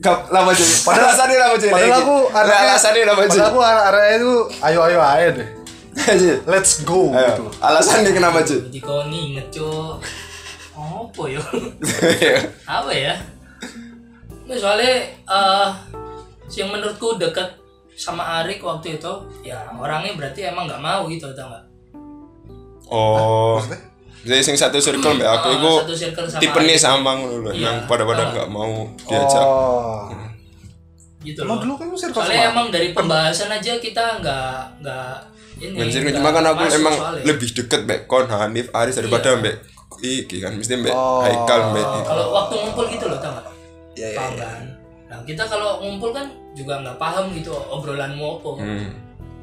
Speaker 1: Gak lama aja. Padahal alasannya lama aja.
Speaker 2: padahal aku
Speaker 1: ada alasannya lama aja. [LAUGHS]
Speaker 2: padahal aku arahnya itu ayo ayo ayo deh
Speaker 1: Aja.
Speaker 2: let's go
Speaker 1: Ayo,
Speaker 2: gitu
Speaker 1: Alasannya kenapa [LAUGHS] aja?
Speaker 3: Jadi kau nginget cok. Apa yo? Apa ya? Nah, soalnya eh yang menurutku deket sama Arik waktu itu ya orangnya berarti emang nggak mau gitu atau nggak?
Speaker 1: Oh. Jadi sing satu circle mbak aku
Speaker 3: Eh,
Speaker 1: iku
Speaker 3: satu circle sama
Speaker 1: tipe nih
Speaker 3: Arik
Speaker 1: sama ngono lho,
Speaker 3: Iya.
Speaker 1: nang pada-pada
Speaker 3: Ah.
Speaker 1: nggak mau diajak.
Speaker 2: oh
Speaker 3: gitu
Speaker 2: emang
Speaker 3: loh.
Speaker 2: dulu kan kamu circle sama
Speaker 3: Soalnya emang dari pembahasan aja kita nggak nggak ini.
Speaker 1: Bensin
Speaker 3: nggak
Speaker 1: cuma kan aku
Speaker 3: Iya. masuk
Speaker 1: emang
Speaker 3: soalnya. Iya.
Speaker 1: lebih deket mbak Kon Hanif Aris daripada mbak Iki kan mesti mbak Haikal mbak
Speaker 3: Oh, kalau waktu ngumpul gitu loh tau nggak
Speaker 1: Iya, iya,
Speaker 3: paham kan nah kita kalau ngumpul kan juga nggak paham gitu obrolanmu apa
Speaker 1: Hmm.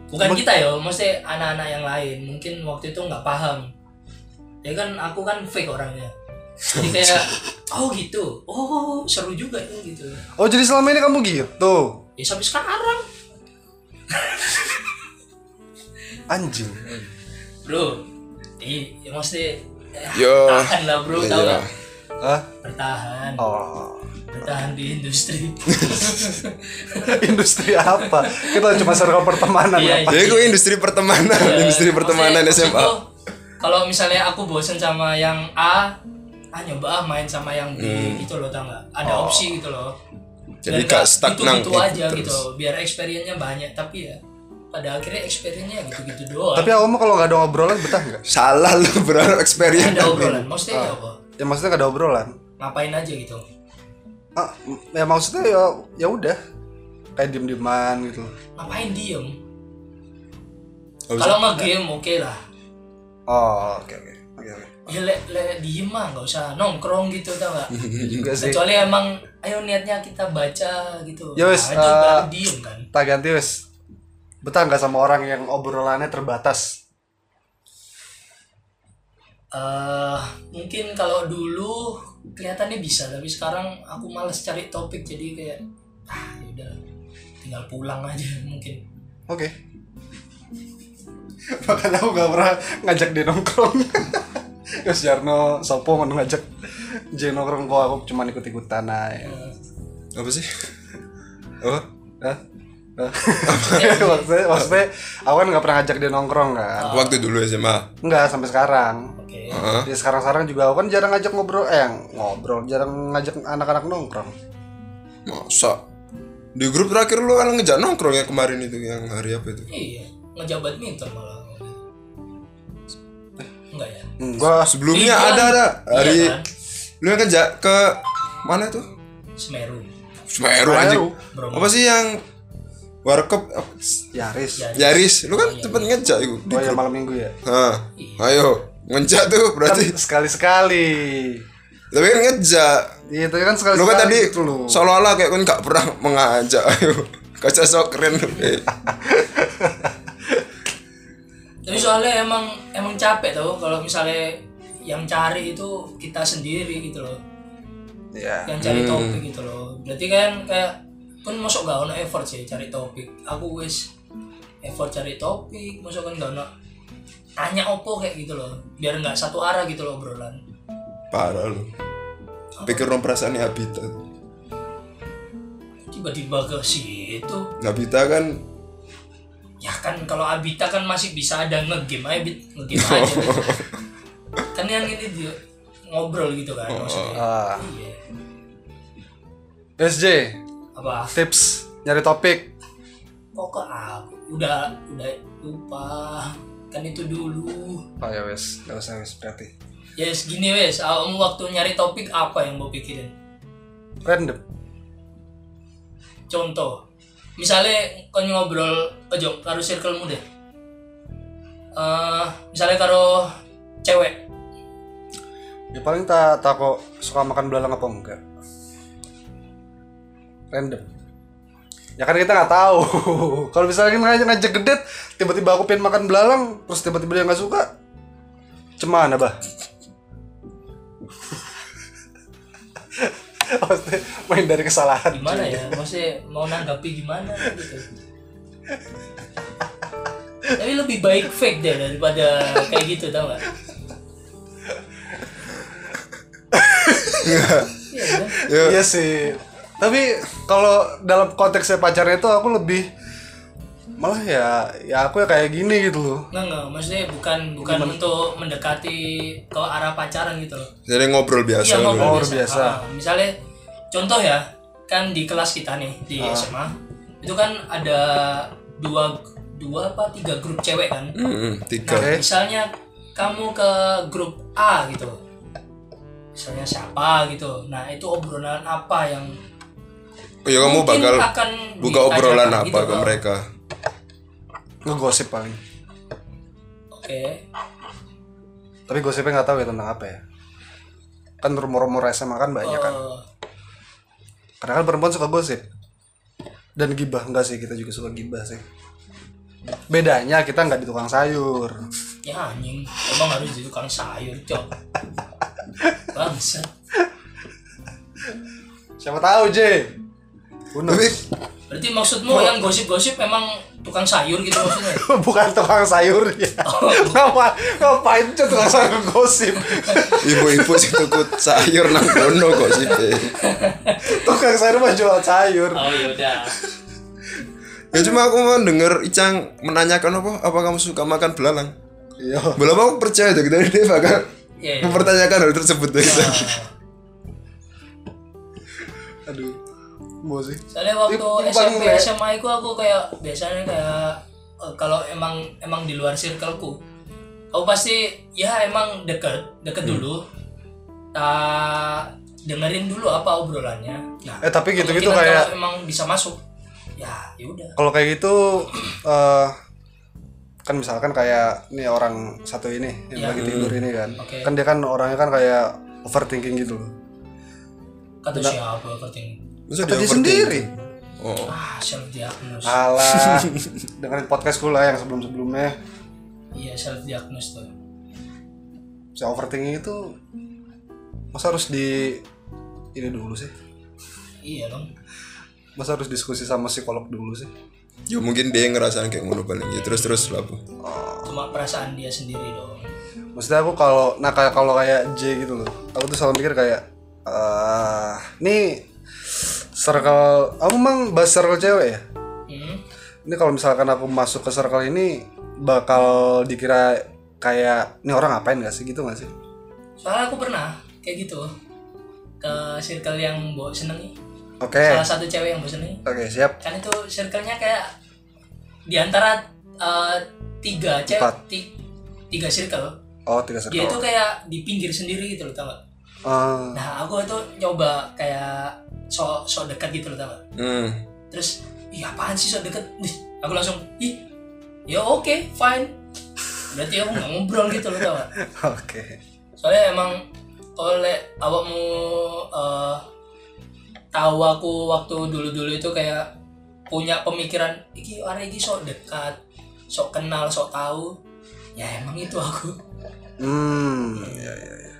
Speaker 3: bukan kita ya maksudnya anak-anak yang lain mungkin waktu itu nggak paham ya kan aku kan fake orangnya jadi
Speaker 1: [LAUGHS]
Speaker 3: kayak oh gitu oh seru juga ya gitu
Speaker 2: Oh jadi selama ini kamu gitu
Speaker 3: ya sampai sekarang
Speaker 2: Anjing
Speaker 3: bro di ya maksudnya eh, [LAUGHS]
Speaker 1: Yo.
Speaker 3: tahan lah bro
Speaker 1: Iya.
Speaker 3: tau nggak?
Speaker 2: Hah?
Speaker 3: bertahan
Speaker 2: Oh [LAUGHS]
Speaker 3: bertahan di
Speaker 1: [LAUGHS]
Speaker 3: industri
Speaker 2: Industri apa? Kita cuma circle pertemanan
Speaker 3: Iya,
Speaker 2: apa?
Speaker 1: Jadi gue industri pertemanan,
Speaker 3: Ya,
Speaker 1: industri pertemanan
Speaker 3: maksudnya
Speaker 1: SMA.
Speaker 3: maksudku, Kalau misalnya aku bosen sama yang A, ah nyoba ah main sama yang B gitu loh, tau nggak? Ada opsi gitu loh.
Speaker 1: Hmm. Oh. Jadi
Speaker 3: Biar
Speaker 1: gak stuck nang
Speaker 3: gitu,
Speaker 1: gitu
Speaker 3: aja gitu,
Speaker 1: terus.
Speaker 3: biar experience-nya banyak. Tapi ya pada akhirnya experience-nya ya gitu-gitu doang.
Speaker 2: Tapi kamu kalau nggak ada obrolan betah nggak?
Speaker 1: Salah lu berharap
Speaker 3: Nggak
Speaker 1: experience.
Speaker 3: ada obrolan,
Speaker 1: Ah.
Speaker 3: maksudnya ya apa?
Speaker 2: Ya maksudnya nggak ada obrolan.
Speaker 3: Ngapain aja gitu?
Speaker 2: Ah, m- ya maksudnya ya ya udah kayak diem dieman gitu.
Speaker 3: Ngapain diem?
Speaker 1: Nggak
Speaker 3: Kalau nggak game oke lah.
Speaker 2: Oh oke oke oke oke.
Speaker 3: Ya le, le diem mah nggak usah nongkrong gitu tau nggak?
Speaker 2: Iya Juga sih.
Speaker 3: Kecuali emang ayo niatnya kita baca gitu.
Speaker 2: Ya wes,
Speaker 3: nah, itu
Speaker 2: eh,
Speaker 3: baru diem kan.
Speaker 2: Tak ganti wes. betah nggak sama orang yang obrolannya terbatas
Speaker 3: eh mungkin kalau dulu kelihatannya bisa tapi sekarang aku males cari topik jadi kayak ah udah tinggal pulang aja [LAUGHS] mungkin
Speaker 2: oke bahkan aku gak pernah ngajak dia nongkrong [LAUGHS] Terus Jarno Sopo mau ngajak J nongkrong kok aku cuma ikut-ikutan aja
Speaker 1: apa sih apa
Speaker 2: Hah?
Speaker 1: [LAUGHS]
Speaker 2: Hah? maksudnya, maksudnya aku kan gak pernah ngajak dia nongkrong kan
Speaker 1: waktu dulu SMA
Speaker 2: Enggak sampai sekarang
Speaker 3: oke
Speaker 1: Heeh.
Speaker 2: Ya sekarang-sekarang juga aku kan jarang ngajak ngobrol Eh ngobrol, jarang ngajak anak-anak nongkrong
Speaker 1: masa di grup terakhir lu kan ngejak nongkrong ya kemarin itu yang hari apa itu
Speaker 3: iya ngejabat minter malah enggak ya
Speaker 2: Enggak,
Speaker 1: sebelumnya
Speaker 3: Iya,
Speaker 1: ada ada
Speaker 3: iya,
Speaker 1: hari
Speaker 3: kan?
Speaker 1: lu yang ngejak ke mana tuh
Speaker 3: Semeru
Speaker 1: Semeru anjing
Speaker 3: Bromo.
Speaker 1: apa sih yang warkop apa?
Speaker 2: Yaris
Speaker 1: Yaris lu kan
Speaker 3: iya.
Speaker 1: cepet ngejak itu
Speaker 2: Ya, Oh ya malam minggu
Speaker 1: [LAUGHS]
Speaker 2: ya
Speaker 1: Hah, ayo ngejak tuh
Speaker 2: Kan
Speaker 1: berarti
Speaker 2: sekali-sekali
Speaker 1: tapi kan ngejak
Speaker 2: Iya tapi kan sekali-sekali
Speaker 1: lu kan tadi
Speaker 2: gitu loh.
Speaker 1: seolah-olah kayak kan nggak pernah mengajak ayo kaca sok keren lu eh.
Speaker 3: tapi soalnya emang emang capek tau kalau misalnya yang cari itu kita sendiri gitu loh
Speaker 2: Iya
Speaker 3: yang cari topik gitu loh berarti kan kayak kan masuk gak ono effort sih cari topik aku wis effort cari topik masuk kan gak ono tanya opo kayak gitu loh biar nggak satu arah gitu loh obrolan
Speaker 1: parah lu pikir dong perasaan habitat
Speaker 3: tiba-tiba ke situ
Speaker 1: habitat kan
Speaker 3: ya kan kalau Abita kan masih bisa ada ngegame aja Bit. ngegame aja kan yang ini dia ngobrol gitu kan maksudnya
Speaker 2: Ah.
Speaker 3: Iya.
Speaker 2: SJ
Speaker 3: apa
Speaker 2: tips nyari topik
Speaker 3: pokok ah, udah udah lupa kan itu dulu
Speaker 2: Oh ya wes, gak usah wes berarti
Speaker 3: ya segini wes awakmu waktu nyari topik apa yang mau pikirin
Speaker 2: Random
Speaker 3: contoh misalnya kau ngobrol ojo karo circlemu deh Eh, misalnya karo cewek
Speaker 2: Ya paling tak tako suka makan belalang apa enggak Random Ya kan kita nggak tahu. [LAUGHS] Kalau misalnya ngajak ngajak gedet, tiba-tiba aku pengen makan belalang, terus tiba-tiba dia nggak suka, cemana bah? [LAUGHS] Maksudnya main dari kesalahan.
Speaker 3: gimana ya maksudnya mau nanggapi gimana gitu tapi lebih baik fake deh daripada kayak gitu tau gak Iya, kan?
Speaker 2: Iya sih. Tapi kalau dalam konteksnya pacarnya itu aku lebih malah ya ya aku ya kayak gini gitu loh.
Speaker 3: Nggak, nggak, maksudnya bukan bukan untuk mendekati ke arah pacaran gitu loh.
Speaker 1: jadi ngobrol biasa
Speaker 3: Iya,
Speaker 1: lu
Speaker 2: ngobrol
Speaker 3: ngobrol
Speaker 2: biasa.
Speaker 3: biasa. Ah, misalnya contoh ya, kan di kelas kita nih di
Speaker 1: Ah.
Speaker 3: SMA, itu kan ada dua dua apa tiga grup cewek kan.
Speaker 1: Mm-mm,
Speaker 3: Nah,
Speaker 1: tiga
Speaker 2: Oke.
Speaker 3: misalnya kamu ke grup A gitu. Misalnya siapa gitu. Nah, itu obrolan apa yang
Speaker 1: ya kamu
Speaker 3: mungkin
Speaker 1: bakal
Speaker 3: akan
Speaker 1: buka
Speaker 3: ditanyakan
Speaker 1: obrolan
Speaker 3: gitu,
Speaker 1: apa ke
Speaker 3: Bang.
Speaker 1: mereka
Speaker 2: Ngegosip paling.
Speaker 3: Oke.
Speaker 2: Tapi gosipnya nggak tahu ya tentang apa ya. Kan rumor-rumor SMA kan banyak kan.
Speaker 3: Eh,
Speaker 2: Karena kan perempuan suka gosip. Dan gibah enggak sih kita juga suka gibah sih. Bedanya kita nggak di tukang sayur.
Speaker 3: Ya anjing, emang harus di tukang sayur,
Speaker 1: [LAUGHS]
Speaker 3: cok. Bangsat.
Speaker 2: Siapa tahu J. Uno.
Speaker 1: tapi
Speaker 3: Berarti maksudmu yang gosip-gosip emang tukang sayur gitu maksudnya?
Speaker 2: [LAUGHS] bukan tukang sayur ya. Ngapa ngapain J tukang sayur gosip?
Speaker 1: ibu-ibu sih
Speaker 3: [LAUGHS]
Speaker 1: tuku sayur nang kono kok sih eh.
Speaker 2: tukang sayur mah jual sayur.
Speaker 3: Oh yaudah.
Speaker 1: ya cuma aku mau denger Icang menanyakan apa apa kamu suka makan belalang
Speaker 2: Iya.
Speaker 1: belum aku percaya deh dari dia bakal
Speaker 3: Iya. iya.
Speaker 1: mempertanyakan hal tersebut deh
Speaker 3: Nah,
Speaker 2: Aduh. Mau sih.
Speaker 3: soalnya waktu
Speaker 2: Ini paling
Speaker 3: SMP
Speaker 2: kayak-
Speaker 3: SMA itu aku kayak biasanya kayak eh, kalau emang emang di luar circleku, aku pasti ya emang deket deket
Speaker 2: Hmm.
Speaker 3: dulu. Tak dengerin dulu apa obrolannya. Nah,
Speaker 2: Eh, tapi gitu-gitu
Speaker 3: kemungkinan
Speaker 2: kayak-
Speaker 3: kalau emang bisa masuk. Ya, yaudah.
Speaker 2: kalau kayak gitu eh kan misalkan kayak nih orang satu ini yang
Speaker 3: Iya.
Speaker 2: lagi tidur ini kan
Speaker 3: Oke.
Speaker 2: kan dia kan orangnya kan kayak overthinking gitu loh Nah.
Speaker 3: Kata siapa keting.
Speaker 1: Masa
Speaker 2: Kata dia
Speaker 1: overthinking?
Speaker 2: sendiri
Speaker 1: oh
Speaker 3: ah self diagnose
Speaker 2: Alah, dengerin podcast gue lah yang sebelum-sebelumnya.
Speaker 3: iya self diagnose tuh
Speaker 2: Si overthinking itu masa harus di ini dulu sih?
Speaker 3: iya dong
Speaker 2: Masa harus diskusi sama psikolog dulu sih?
Speaker 1: ya mungkin dia ngerasain kayak ngono paling ya terus terus lah bu
Speaker 3: cuma perasaan dia sendiri dong
Speaker 2: Maksudnya aku kalau nah kayak kalau kayak J gitu loh. Aku tuh selalu mikir kayak ah ini circle aku emang bahas circle cewek ya?
Speaker 3: hmm?
Speaker 2: ini kalau misalkan aku masuk ke circle ini bakal dikira kayak ini orang ngapain gak sih gitu gak sih
Speaker 3: soalnya aku pernah kayak gitu ke circle yang mbok senengi
Speaker 2: oke
Speaker 3: salah satu cewek yang mbok senengi
Speaker 2: oke siap
Speaker 3: kan itu circle-nya kayak di antara eh, tiga cewek
Speaker 2: Empat.
Speaker 3: ti- tiga circle
Speaker 2: oh tiga
Speaker 3: dia
Speaker 2: circle
Speaker 3: itu kayak di pinggir sendiri gitu loh tau gak?
Speaker 2: Ah,
Speaker 3: nah aku itu nyoba kayak so so dekat gitu loh tau gak?
Speaker 1: hmm
Speaker 3: terus ih apaan sih so deket Ih, aku langsung ih ya oke fine berarti aku nggak ngobrol gitu loh tau gak?
Speaker 2: [LAUGHS] oke
Speaker 3: soalnya emang oleh awakmu eh tahu aku waktu dulu-dulu itu kayak punya pemikiran iki orang iki sok dekat sok kenal sok tahu ya emang itu aku
Speaker 2: hmm ya ya ya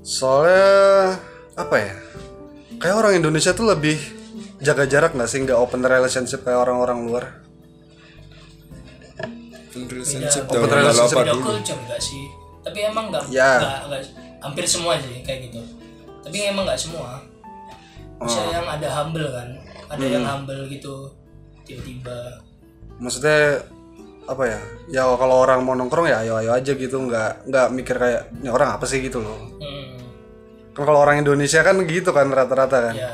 Speaker 2: soalnya apa ya kayak orang Indonesia tuh lebih jaga jarak gak sih nggak open relationship kayak orang-orang luar
Speaker 1: Open relationship
Speaker 3: Beda-
Speaker 1: dong
Speaker 2: open
Speaker 1: nggak
Speaker 2: relationship
Speaker 1: lapar
Speaker 3: beda
Speaker 1: dulu
Speaker 3: culture enggak sih tapi emang nggak
Speaker 2: Ya.
Speaker 3: nggak nggak- hampir semua sih kayak gitu tapi emang nggak semua bisa yang ada humble kan ada yang humble gitu tiba-tiba
Speaker 2: maksudnya apa ya ya kalau orang mau nongkrong ya ayo ayo aja gitu nggak nggak mikir kayak ini orang apa sih gitu loh
Speaker 3: hmm,
Speaker 2: kan kalau orang Indonesia kan gitu kan rata-rata kan
Speaker 3: ya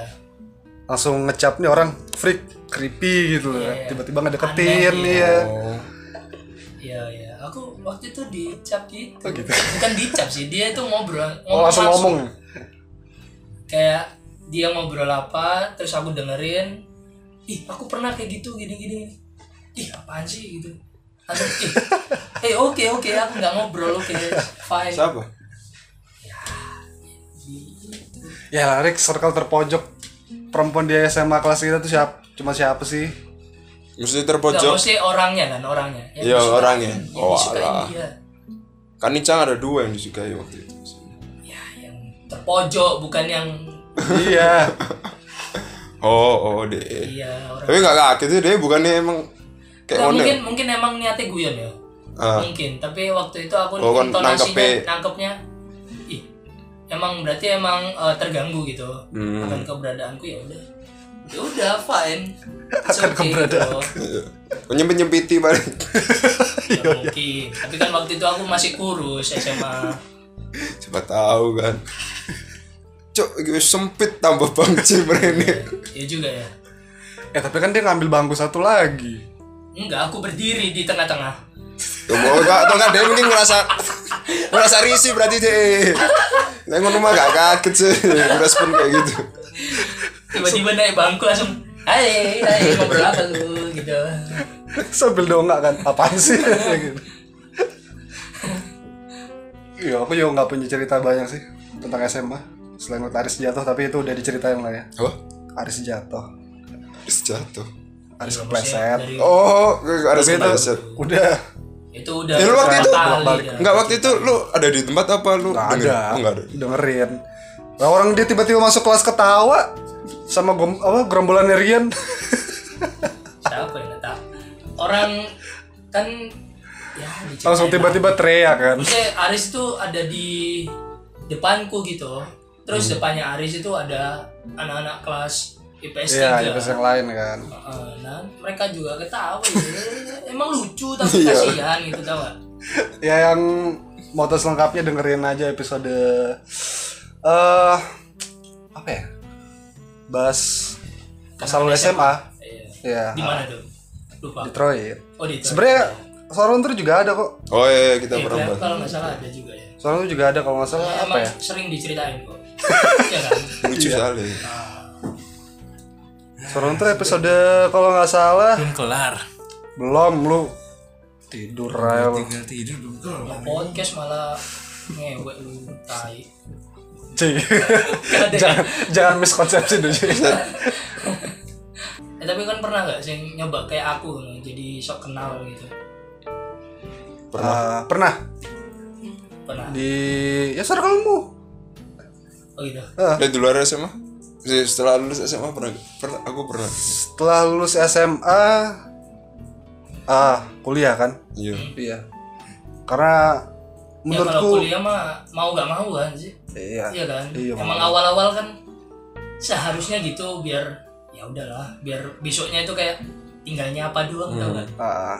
Speaker 2: langsung ngecap nih orang freak creepy gitu loh kan. tiba-tiba ngedeketin
Speaker 3: Aneh,
Speaker 2: ya
Speaker 1: oh
Speaker 3: Iya iya, aku waktu itu dicap gitu.
Speaker 1: Oh,
Speaker 3: Bukan dicap sih, dia itu ngobrol,
Speaker 2: oh langsung ngomong
Speaker 3: Kayak dia ngobrol apa, terus aku dengerin. Ih, aku pernah kayak gitu gini-gini. Ih, apaan sih gitu. Langsung, ih, eh oke oke, aku nggak ngobrol oke, fine.
Speaker 1: siapa
Speaker 3: Gitu.
Speaker 2: ya larik circle terpojok perempuan di SMA kelas kita tuh siapa cuma
Speaker 1: [LAUGHS]
Speaker 2: siapa sih
Speaker 1: mesti
Speaker 3: Nggak
Speaker 1: terpojok
Speaker 3: mesti orangnya kan orangnya. Yang
Speaker 1: Iya,
Speaker 3: disukain-
Speaker 1: orangnya.
Speaker 3: Yang
Speaker 1: Oh,
Speaker 3: disukain
Speaker 1: alah.
Speaker 3: dia.
Speaker 1: kan Nicang ada dua yang disukai waktu itu
Speaker 3: Ya, yang terpojok bukan yang
Speaker 2: iya
Speaker 1: oh oh deh
Speaker 3: iya orang.
Speaker 1: tapi nggak kaget sih deh bukannya emang kayak
Speaker 3: Nggak,
Speaker 1: ngono
Speaker 3: mungkin mungkin emang niatnya guyon ya.
Speaker 1: ah
Speaker 3: mungkin tapi waktu itu aku
Speaker 1: Oh, kan nangkepnya-
Speaker 3: intonasinya nangkepnya ih emang berarti emang eh, terganggu gitu
Speaker 1: hmm.
Speaker 3: akan keberadaanku ya udah ya udah fine
Speaker 1: [LAUGHS]
Speaker 3: It's
Speaker 2: Akan
Speaker 3: okay,
Speaker 2: keberadaanku.
Speaker 3: gitu.
Speaker 1: nyempit nyempiti paling Iya,
Speaker 3: Ya, mungkin tapi kan waktu itu aku masih kurus SMA
Speaker 1: [LAUGHS] siapa tahu kan cok gitu sempit tambah bangci merene
Speaker 3: ya juga ya
Speaker 2: eh tapi kan dia ngambil bangku satu lagi [LAUGHS]
Speaker 3: enggak aku berdiri di tengah-tengah
Speaker 1: ya mau gak atau nggak dia mungkin ngerasa ngerasa risih berarti deh Nah, ngono mah gak kaget sih respon kayak gitu
Speaker 3: tiba-tiba naik bangku langsung hai hai ngobrol apa lu gitu
Speaker 2: sambil dongak kan apaan sih [LAUGHS] Kayak gitu. iya aku juga nggak punya cerita banyak sih tentang SMA selain waktu Aris jatuh tapi itu udah diceritain lah ya
Speaker 1: apa
Speaker 2: Aris jatuh
Speaker 1: Terus jatuh
Speaker 2: Aris
Speaker 3: Ya,
Speaker 2: kepleset
Speaker 3: maksudnya dari-
Speaker 1: oh gue harus
Speaker 2: Tapi itu-
Speaker 1: Iya, kepleset
Speaker 2: udah
Speaker 3: itu udah
Speaker 1: Ya, lu waktu itu-
Speaker 3: berapa kali
Speaker 2: Balik.
Speaker 3: dah.
Speaker 1: Enggak waktu itu lu ada di tempat apa lu?
Speaker 2: Gak
Speaker 1: dengerin?
Speaker 2: ada.
Speaker 1: Oh, nggak ada.
Speaker 2: Dengerin. Lah orang dia tiba-tiba masuk kelas ketawa sama gom apa gerombolan Rian. [LAUGHS]
Speaker 3: siapa yang nggak tahu orang kan ya diceritain
Speaker 2: Langsung
Speaker 3: lah.
Speaker 2: tiba-tiba teriak kan.
Speaker 3: Maksudnya Aris tuh ada di depanku gitu.
Speaker 2: Hmm.
Speaker 3: Terus depannya Aris itu ada anak-anak kelas IPS 3.
Speaker 2: Iya, itu yang lain kan.
Speaker 3: Heeh, nah, mereka juga ketawa
Speaker 2: [LAUGHS]
Speaker 3: ya. Emang lucu tapi
Speaker 1: Iya.
Speaker 3: kasihan gitu tau gak?
Speaker 2: Ya yang mau tahu selengkapnya dengerin aja episode eh apa ya? Bahas masa lalu SMA.
Speaker 3: Iya.
Speaker 2: Ya,
Speaker 3: Di mana tuh? Lupa.
Speaker 2: Detroit.
Speaker 3: Oh, di
Speaker 2: Sebenarnya Sorong tuh juga ada kok.
Speaker 1: Oh iya, iya, kita
Speaker 3: Eh,
Speaker 1: pernah
Speaker 3: Grab
Speaker 1: bahas.
Speaker 3: kalau nggak salah ada juga ya.
Speaker 2: Sorong tuh juga ada kalau nggak salah apa
Speaker 3: Emang
Speaker 2: ya?
Speaker 3: sering diceritain
Speaker 2: [LAUGHS]
Speaker 3: kok. Iya kan?
Speaker 1: Lucu sekali.
Speaker 2: Sorong tuh episode kalau nggak salah
Speaker 4: belum kelar
Speaker 2: belum lu tidur aja lu.
Speaker 4: tinggal tidur belum kelar
Speaker 3: Podcast malah ngewek lu
Speaker 2: [LAUGHS]
Speaker 3: tai. ya?
Speaker 2: Cih. jangan jangan miskonsepsi dulu Cih.
Speaker 3: Eh, tapi kan pernah nggak sih nyoba kayak aku nih, jadi sok kenal gitu
Speaker 1: pernah
Speaker 2: Eh, pernah
Speaker 3: pernah
Speaker 2: di ya circlemu
Speaker 3: oh gitu
Speaker 1: dari dulu ada SMA Maksudnya setelah lulus SMA pernah pernah aku pernah
Speaker 2: setelah lulus SMA ah kuliah kan
Speaker 1: iya
Speaker 2: iya karena
Speaker 3: ya kalau
Speaker 2: menurutku
Speaker 3: kuliah mah mau nggak mau kan sih
Speaker 2: iya
Speaker 3: iya kan
Speaker 2: Iya,
Speaker 3: emang
Speaker 2: mau.
Speaker 3: awal-awal kan seharusnya gitu biar ya udahlah biar besoknya itu kayak tinggalnya apa doang tau kan
Speaker 2: Ah.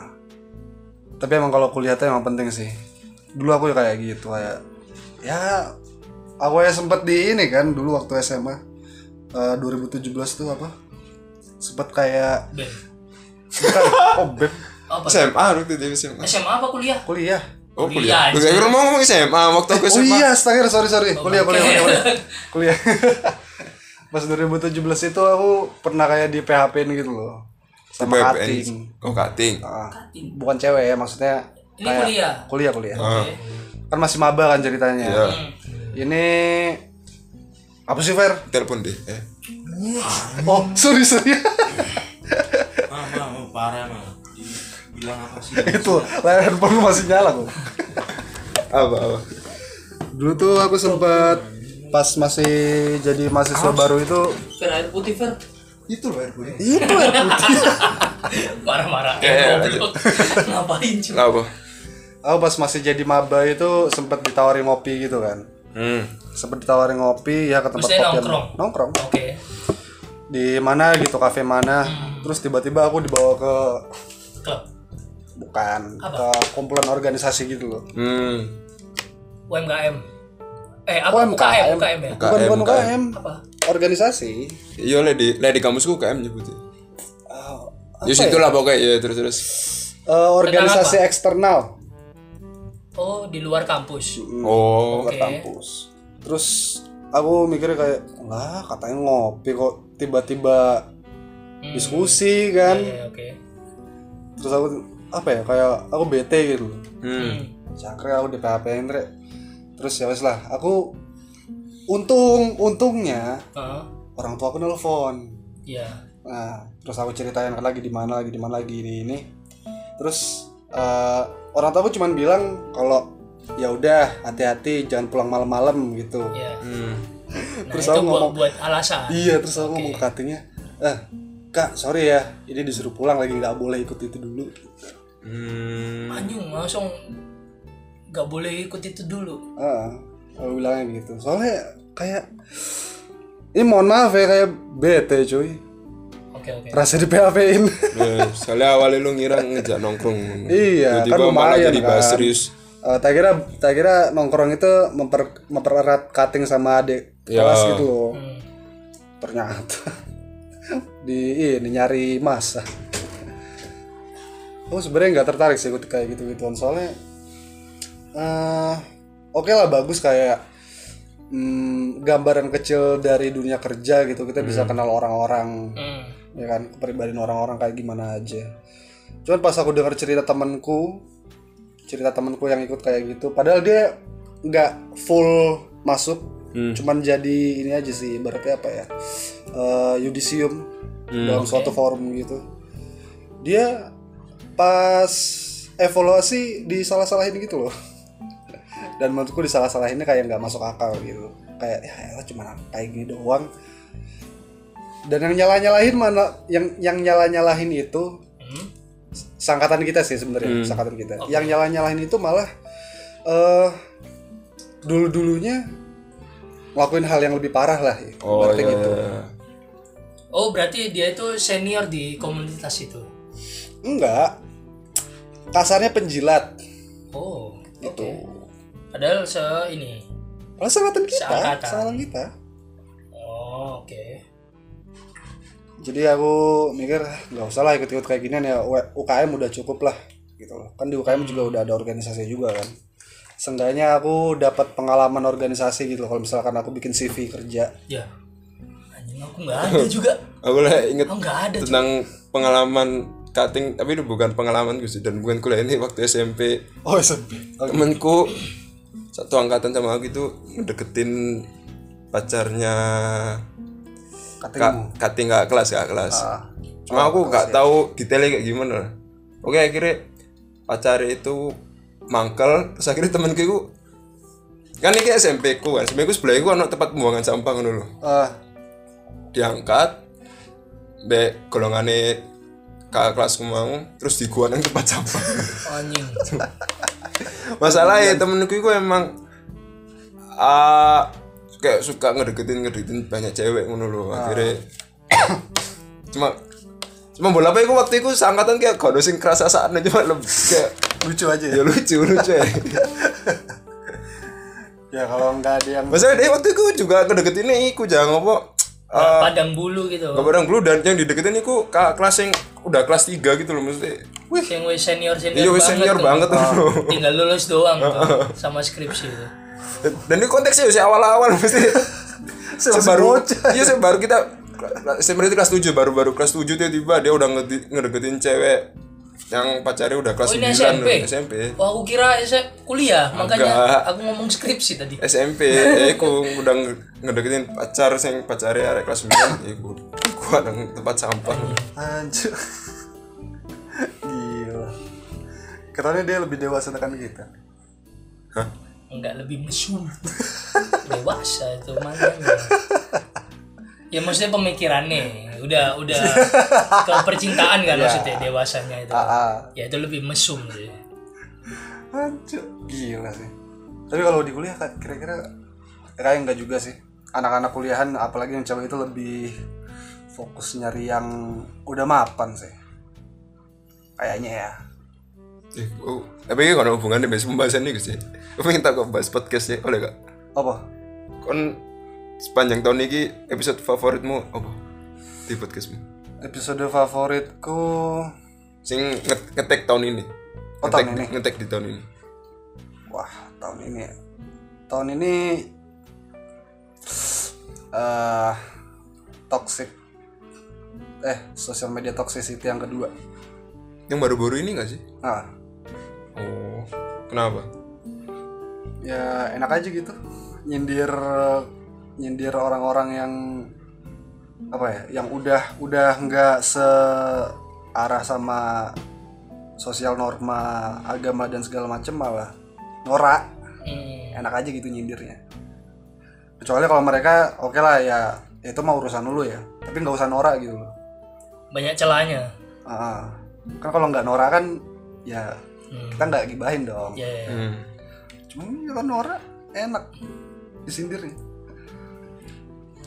Speaker 2: tapi emang kalau kuliah tuh emang penting sih dulu aku kayak gitu kayak ya aku ya sempet di ini kan dulu waktu SMA eh, 2017 tuh apa sempet kayak [LAUGHS]
Speaker 3: Beb.
Speaker 2: bukan oh beb
Speaker 3: apa
Speaker 1: SMA waktu itu SMA
Speaker 3: SMA apa kuliah
Speaker 2: kuliah
Speaker 1: oh
Speaker 3: Kuliah,
Speaker 1: kuliah gue kira mau ngomong SMA waktu aku
Speaker 2: oh
Speaker 1: SMA
Speaker 2: iya astaga sorry sorry kuliah kuliah
Speaker 3: bangke.
Speaker 2: kuliah kuliah, kuliah. [LAUGHS] pas 2017 itu aku pernah kayak di PHP-in gitu loh sama
Speaker 1: Tiba-tiba
Speaker 2: kating
Speaker 1: oh kating
Speaker 2: Ah, bukan cewek ya maksudnya
Speaker 3: ini kuliah
Speaker 2: kuliah kuliah
Speaker 3: Oke.
Speaker 2: kan masih maba kan ceritanya
Speaker 1: Ah. Iya.
Speaker 3: Hmm.
Speaker 2: Ini apa sih Fer?
Speaker 1: telepon deh eh
Speaker 2: Oh, sorry sorry. [LAUGHS]
Speaker 5: Mah, mah, mah, parah mah. Bilang apa sih?
Speaker 2: itu layar handphone masih nyala kok.
Speaker 1: apa apa
Speaker 2: Dulu tuh aku sempat pas masih jadi mahasiswa baru itu [LAUGHS] Iya,
Speaker 3: Fer air putih Fer
Speaker 1: itu loh air putih
Speaker 2: itu air putih.
Speaker 3: marah-marah
Speaker 2: Iya,
Speaker 1: Ya, ya,
Speaker 3: Goblok. [LAUGHS] ngapain cuy
Speaker 1: apa
Speaker 2: aku pas masih jadi maba itu sempat ditawarin ngopi gitu kan.
Speaker 1: hmm
Speaker 2: Sempat ditawarin ngopi ya ke tempat
Speaker 3: Maksudnya
Speaker 2: kopi yang-
Speaker 3: nongkrong?
Speaker 2: Nongkrong.
Speaker 3: oke
Speaker 2: Di mana gitu kafe mana.
Speaker 3: Hmm.
Speaker 2: Terus tiba-tiba aku dibawa ke
Speaker 3: klub
Speaker 2: bukan ke kumpulan organisasi gitu loh.
Speaker 1: hmm
Speaker 3: UMKM eh apa
Speaker 2: UMKM?
Speaker 3: UKM UKM ya
Speaker 2: Bukan bukan UKM,
Speaker 3: apa
Speaker 2: organisasi.
Speaker 1: iya lady lady kampusku KM nyebutnya
Speaker 2: Ah,
Speaker 1: ya
Speaker 2: apa ya?
Speaker 1: situ lah pokoknya ya terus terus
Speaker 2: Eh, organisasi eksternal
Speaker 3: oh di luar kampus
Speaker 1: oh
Speaker 2: buat kampus. Terus aku mikirnya kayak lah katanya ngopi kok tiba-tiba
Speaker 3: Hmm.
Speaker 2: diskusi
Speaker 3: Iya,
Speaker 2: kan.
Speaker 3: iya, oke
Speaker 2: Terus aku apa ya kayak aku bete gitu.
Speaker 1: hmm
Speaker 2: Cakre aku di PHP Rek. Terus ya wes lah aku untung untungnya
Speaker 3: Heeh.
Speaker 2: orang tua aku nelpon.
Speaker 3: Oh, Iya.
Speaker 2: Nah, terus aku ceritain lagi di mana lagi di mana lagi ini ini. Terus eh, orang tua aku cuman bilang kalau ya udah hati-hati jangan pulang malam-malam gitu.
Speaker 3: Iya.
Speaker 1: hmm
Speaker 3: Nah,
Speaker 2: Terus
Speaker 3: itu
Speaker 2: aku
Speaker 3: buat,
Speaker 2: ngomong-
Speaker 3: buat alasan.
Speaker 2: Iya terus aku ngomong ke katingnya Eh kak sorry ya Ini disuruh pulang lagi nggak boleh ikut itu dulu
Speaker 1: hmm
Speaker 3: Anjing langsung nggak boleh ikut itu dulu.
Speaker 2: Heeh, Aku bilangnya gitu Soalnya kayak Ini mohon maaf ya kayak bete cuy
Speaker 3: Oke oke.
Speaker 2: Rasa di PHP-in
Speaker 1: Ya, soalnya awalnya lu ngira ngejak nongkrong
Speaker 2: Iya, kan
Speaker 1: tiba-tiba malah
Speaker 2: lumayan,
Speaker 1: jadi bahas
Speaker 2: kan.
Speaker 1: serius
Speaker 2: Eh, tak kira tak kira nongkrong itu memper, mempererat cutting sama adik
Speaker 1: Ya.
Speaker 2: kelas gitu loh
Speaker 3: Hmm.
Speaker 2: ternyata [LAUGHS] di ini nyari masa aku sebenarnya nggak tertarik sih ikut kayak gitu gituan soalnya eh oke lah bagus kayak mm, gambaran kecil dari dunia kerja gitu kita bisa kenal orang-orang
Speaker 3: Hmm.
Speaker 2: ya kan kepribadian orang-orang kayak gimana aja cuman pas aku dengar cerita temanku cerita temanku yang ikut kayak gitu padahal dia nggak full masuk cuman jadi ini aja sih ibaratnya apa ya eh, yudisium dalam suatu forum gitu dia pas evaluasi disalah-salahin gitu loh dan menurutku disalah-salahinnya kayak nggak masuk akal gitu kayak ya elah cuma kayak gini doang dan yang nyala nyalahin mana yang yang nyala nyalahin itu
Speaker 3: Hmm.
Speaker 2: sangkatan kita sih
Speaker 1: Hmm.
Speaker 2: sebenarnya sangkatan kita
Speaker 3: Oke.
Speaker 2: yang nyala nyalahin itu malah eh dulu dulunya ngelakuin hal yang lebih parah lah
Speaker 1: oh
Speaker 2: ibaratnya
Speaker 1: iya
Speaker 2: gitu
Speaker 3: Oh berarti dia itu senior di komunitas itu.
Speaker 2: enggak kasarnya penjilat
Speaker 3: Oh. oke.
Speaker 2: gitu
Speaker 3: Padahal se ini.
Speaker 2: Padahal sangkatan kita
Speaker 3: Seangkatan.
Speaker 2: sangkatan kita
Speaker 3: Oh oke.
Speaker 2: jadi aku mikir "Ah, nggak usah lah ikut-ikut kayak ginian ya U- UKM udah cukup lah gitu loh kan di UKM juga udah ada organisasi juga kan Seenggaknya aku dapat pengalaman organisasi gitu loh kalau misalkan aku bikin CV kerja
Speaker 3: Ya. Anjing aku nggak
Speaker 2: [LAUGHS]
Speaker 3: ada juga.
Speaker 1: aku lah inget
Speaker 3: Aku nggak ada. juga.
Speaker 1: tentang pengalaman cutting tapi itu bukan pengalaman gue sih dan bukan kuliah ini waktu SMP
Speaker 2: oh SMP
Speaker 1: temanku satu angkatan sama aku itu deketin pacarnya
Speaker 2: katanya
Speaker 1: kak kating kakak kelas kakak kelas cuma aku nggak tahu detailnya kayak gimana oke akhirnya pacar itu mangkel terus akhirnya temenku itu kan ini SMP ku SMP ku sebelah ku anak tempat pembuangan sampah ngono lho
Speaker 2: Ah,
Speaker 1: diangkat be golongane kakak kelas mau terus diguan nang tempat sampah
Speaker 3: anjing
Speaker 1: masalahnya temenku itu emang ah kayak suka ngedeketin ngedeketin banyak cewek ngono lho akhirnya [COUGHS] cuma cuma bola apa itu waktu itu seangkatan kayak gak ada sing kerasa saatnya cuma lebih kayak
Speaker 2: lucu aja
Speaker 1: ya
Speaker 2: ya.
Speaker 1: lucu lucu ya
Speaker 2: Ya kalau nggak ada yang
Speaker 1: masalahnya dia waktu itu juga ngedeketinnya iku jangan apa eh,
Speaker 3: padang bulu gitu
Speaker 1: Gak barang dulu dan yang dideketin iku kakak kelas yang udah kelas 3 gitu loh maksudnya wih
Speaker 3: yang wis senior senior
Speaker 1: iya wis
Speaker 3: banget,
Speaker 1: senior
Speaker 3: tuh.
Speaker 1: banget loh
Speaker 3: tinggal lulus
Speaker 2: [LAUGHS]
Speaker 3: doang tuh, sama skripsi tuh.
Speaker 1: dan ini konteksnya masih awal-awal
Speaker 3: [LAUGHS]
Speaker 1: mesti sebaru iya sebaru kita sebenarnya kelas 7 baru-baru kelas 7 tiba-tiba dia udah ngedi- ngedeketin cewek yang pacarnya udah kelas 9
Speaker 3: Oh, ini SMP?
Speaker 1: loh, SMP
Speaker 3: Wah, Oh, aku kira saya kuliah, makanya
Speaker 1: Enggak.
Speaker 3: aku ngomong skripsi tadi.
Speaker 1: SMP eh aku udah nge- ngedeketin pacar yang pacarnya arek kelas 9 ya gua gua nang tempat sampah
Speaker 2: Anjir. [LAUGHS] Gila. Katanya dia lebih dewasa dengan kita.
Speaker 1: Hah?
Speaker 3: Enggak lebih mesum.
Speaker 1: [LAUGHS]
Speaker 3: Dewasa itu makanya. Ya maksudnya pemikirannya udah udah ke
Speaker 1: [LAUGHS]
Speaker 3: percintaan
Speaker 1: Ya.
Speaker 3: kan maksudnya dewasanya itu.
Speaker 2: Ah,
Speaker 3: Ya itu lebih mesum sih.
Speaker 2: Anjir. Gila sih. Tapi kalau di kuliah Kak, kira-kira kayak enggak juga sih. Anak-anak kuliahan apalagi yang cewek itu lebih fokus nyari yang udah mapan sih. Kayaknya ya.
Speaker 1: Eh, oh, tapi ini kalau hubungannya besok pembahasan ini sih aku minta kok bahas podcast ya oleh kak
Speaker 2: Apa?
Speaker 1: kon sepanjang tahun ini episode favoritmu apa di podcastmu
Speaker 2: Episode favoritku
Speaker 1: sing nge- ngetek tahun ini
Speaker 2: Oh,
Speaker 1: ngetek,
Speaker 2: tahun ini.
Speaker 1: ngetek di tahun ini
Speaker 2: Wah, tahun ini ya. Tahun ini eh toxic eh social media toxicity yang kedua.
Speaker 1: yang baru-baru ini gak sih
Speaker 2: Nah,
Speaker 1: oh kenapa
Speaker 2: ya enak aja gitu. Nyindir nyindir orang-orang yang apa ya, yang udah udah nggak searah sama sosial norma agama dan segala macem malah norak
Speaker 3: Hmm.
Speaker 2: enak aja gitu nyindirnya kecuali kalau mereka oke lah ya ya itu mah urusan lu ya tapi nggak usah norak gitu loh
Speaker 3: Banyak celahnya.
Speaker 2: Ah, kan kalau nggak norak kan ya
Speaker 3: Hmm.
Speaker 2: kita nggak gibahin dong
Speaker 3: Ya, ya.
Speaker 1: hmm.
Speaker 2: cuma ya kan norak enak disindirnya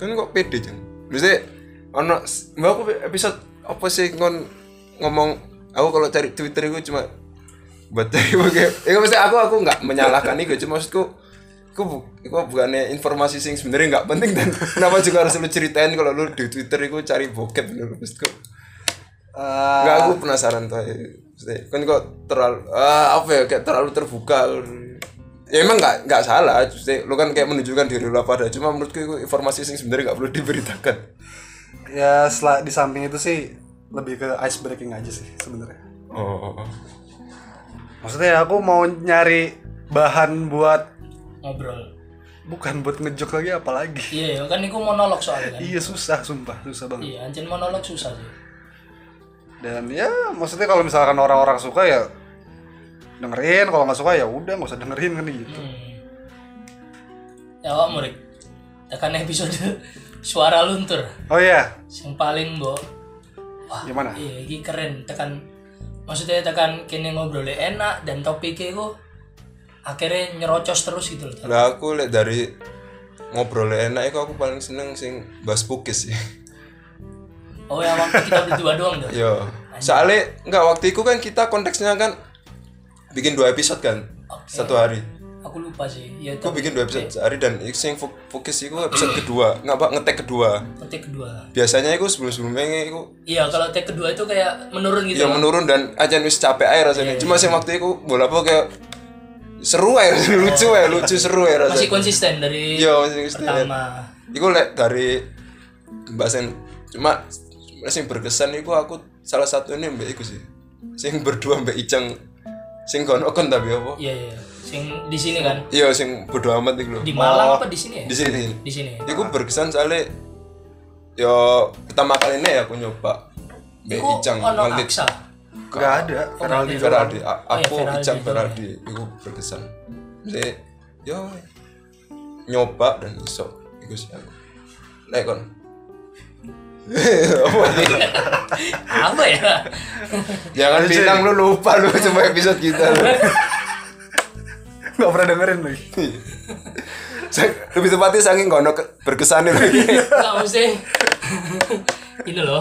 Speaker 1: kan kok pede jan mesti ono mbak aku episode apa sih kon ngomong aku kalau cari twitter gue cuma buat cari pakai ya mesti aku aku nggak menyalahkan itu cuma maksudku aku bu, aku bukannya informasi sing sebenarnya nggak penting dan kenapa juga harus lu ceritain kalau lu di twitter itu cari bokep lu maksudku
Speaker 2: Eh,
Speaker 1: Enggak, aku penasaran tuh. Kan kok terlalu ah, apa ya kayak terlalu terbuka. Ya emang nggak nggak salah, Maksudnya, lu kan kayak menunjukkan diri lu apa ada. Cuma menurutku itu informasi sing sebenarnya nggak perlu [LAUGHS] diberitakan.
Speaker 2: ya setelah di samping itu sih lebih ke ice breaking aja sih sebenarnya
Speaker 1: Oh,
Speaker 2: maksudnya aku mau nyari bahan buat
Speaker 3: Ngobrol.
Speaker 2: bukan buat ngejok lagi apalagi
Speaker 3: Iya, ya, kan itu monolog soalnya kan.
Speaker 2: iya susah sumpah susah banget
Speaker 3: Iya, anjir monolog susah sih.
Speaker 2: dan ya maksudnya kalau misalkan orang-orang suka ya dengerin kalau nggak suka ya udah nggak usah dengerin kan gitu
Speaker 3: Hmm. Ya, awak murid. Tekan episode [LAUGHS] suara luntur.
Speaker 2: oh iya
Speaker 3: Yang paling mbok Wah,
Speaker 2: Gimana?
Speaker 3: Iya, ini keren. Tekan maksudnya tekan kini ngobrolnya enak dan topiknya itu akhirnya nyerocos terus gitu loh.
Speaker 1: lah aku lihat dari ngobrol enak itu aku paling seneng sing bahas pukis ya. [LAUGHS]
Speaker 3: Oh ya, waktu kita berdua doang dong.
Speaker 1: Yo. Soalnya nggak waktu itu kan kita konteksnya kan bikin dua episode kan satu hari.
Speaker 3: Aku lupa sih. Ya,
Speaker 1: Aku
Speaker 3: tapi
Speaker 1: bikin dua episode sehari dan itu sing fo- fokus itu episode kedua, nggak pak ngetek kedua.
Speaker 3: take kedua.
Speaker 1: Biasanya itu sebelum sebelumnya itu
Speaker 3: Iya, kalau take kedua itu kayak menurun gitu.
Speaker 1: ya
Speaker 3: loh.
Speaker 1: menurun dan aja wis capek air
Speaker 3: Iya,
Speaker 1: rasanya. Cuma sih waktu itu bola apa kayak seru aja, [LAUGHS] lucu aja, lucu seru aja rasanya.
Speaker 3: Masih konsisten dari
Speaker 1: Iya, masih konsisten.
Speaker 3: pertama.
Speaker 1: Iku lek dari pembahasan cuma sing berkesan iku aku salah satu ini mbak iku sih. Sing berdua mbak Icang sing kon kon tapi apa?
Speaker 3: Iya, iya. Sing di sini kan.
Speaker 1: Iya sing bodo amat iku lho. Oh,
Speaker 3: Di Malang apa di sini ya?
Speaker 1: Di sini.
Speaker 3: Di sini.
Speaker 1: Iku berkesan soalnya yo pertama kali ini ya aku ya nyoba Be
Speaker 3: Kok
Speaker 1: Icang
Speaker 3: ono
Speaker 1: Mantit
Speaker 3: Aksa?
Speaker 2: Gak ada. Feraldi doang.
Speaker 1: Feraldi A-
Speaker 3: Oh, iya,
Speaker 1: aku
Speaker 3: Feraldi
Speaker 1: Icang
Speaker 3: doang.
Speaker 1: Feraldi iku berkesan Jadi, yo nyoba dan iso iku sih aku nek kon [LAUGHS] Apa ini?
Speaker 3: apa ya
Speaker 1: jangan bilang lu lupa lu cuma episode kita lu.
Speaker 2: Gak pernah dengerin lagi.
Speaker 1: Sa- lebih tepatnya saking kono ke- berkesannya lagi
Speaker 3: nggak [LAUGHS] mesti ini loh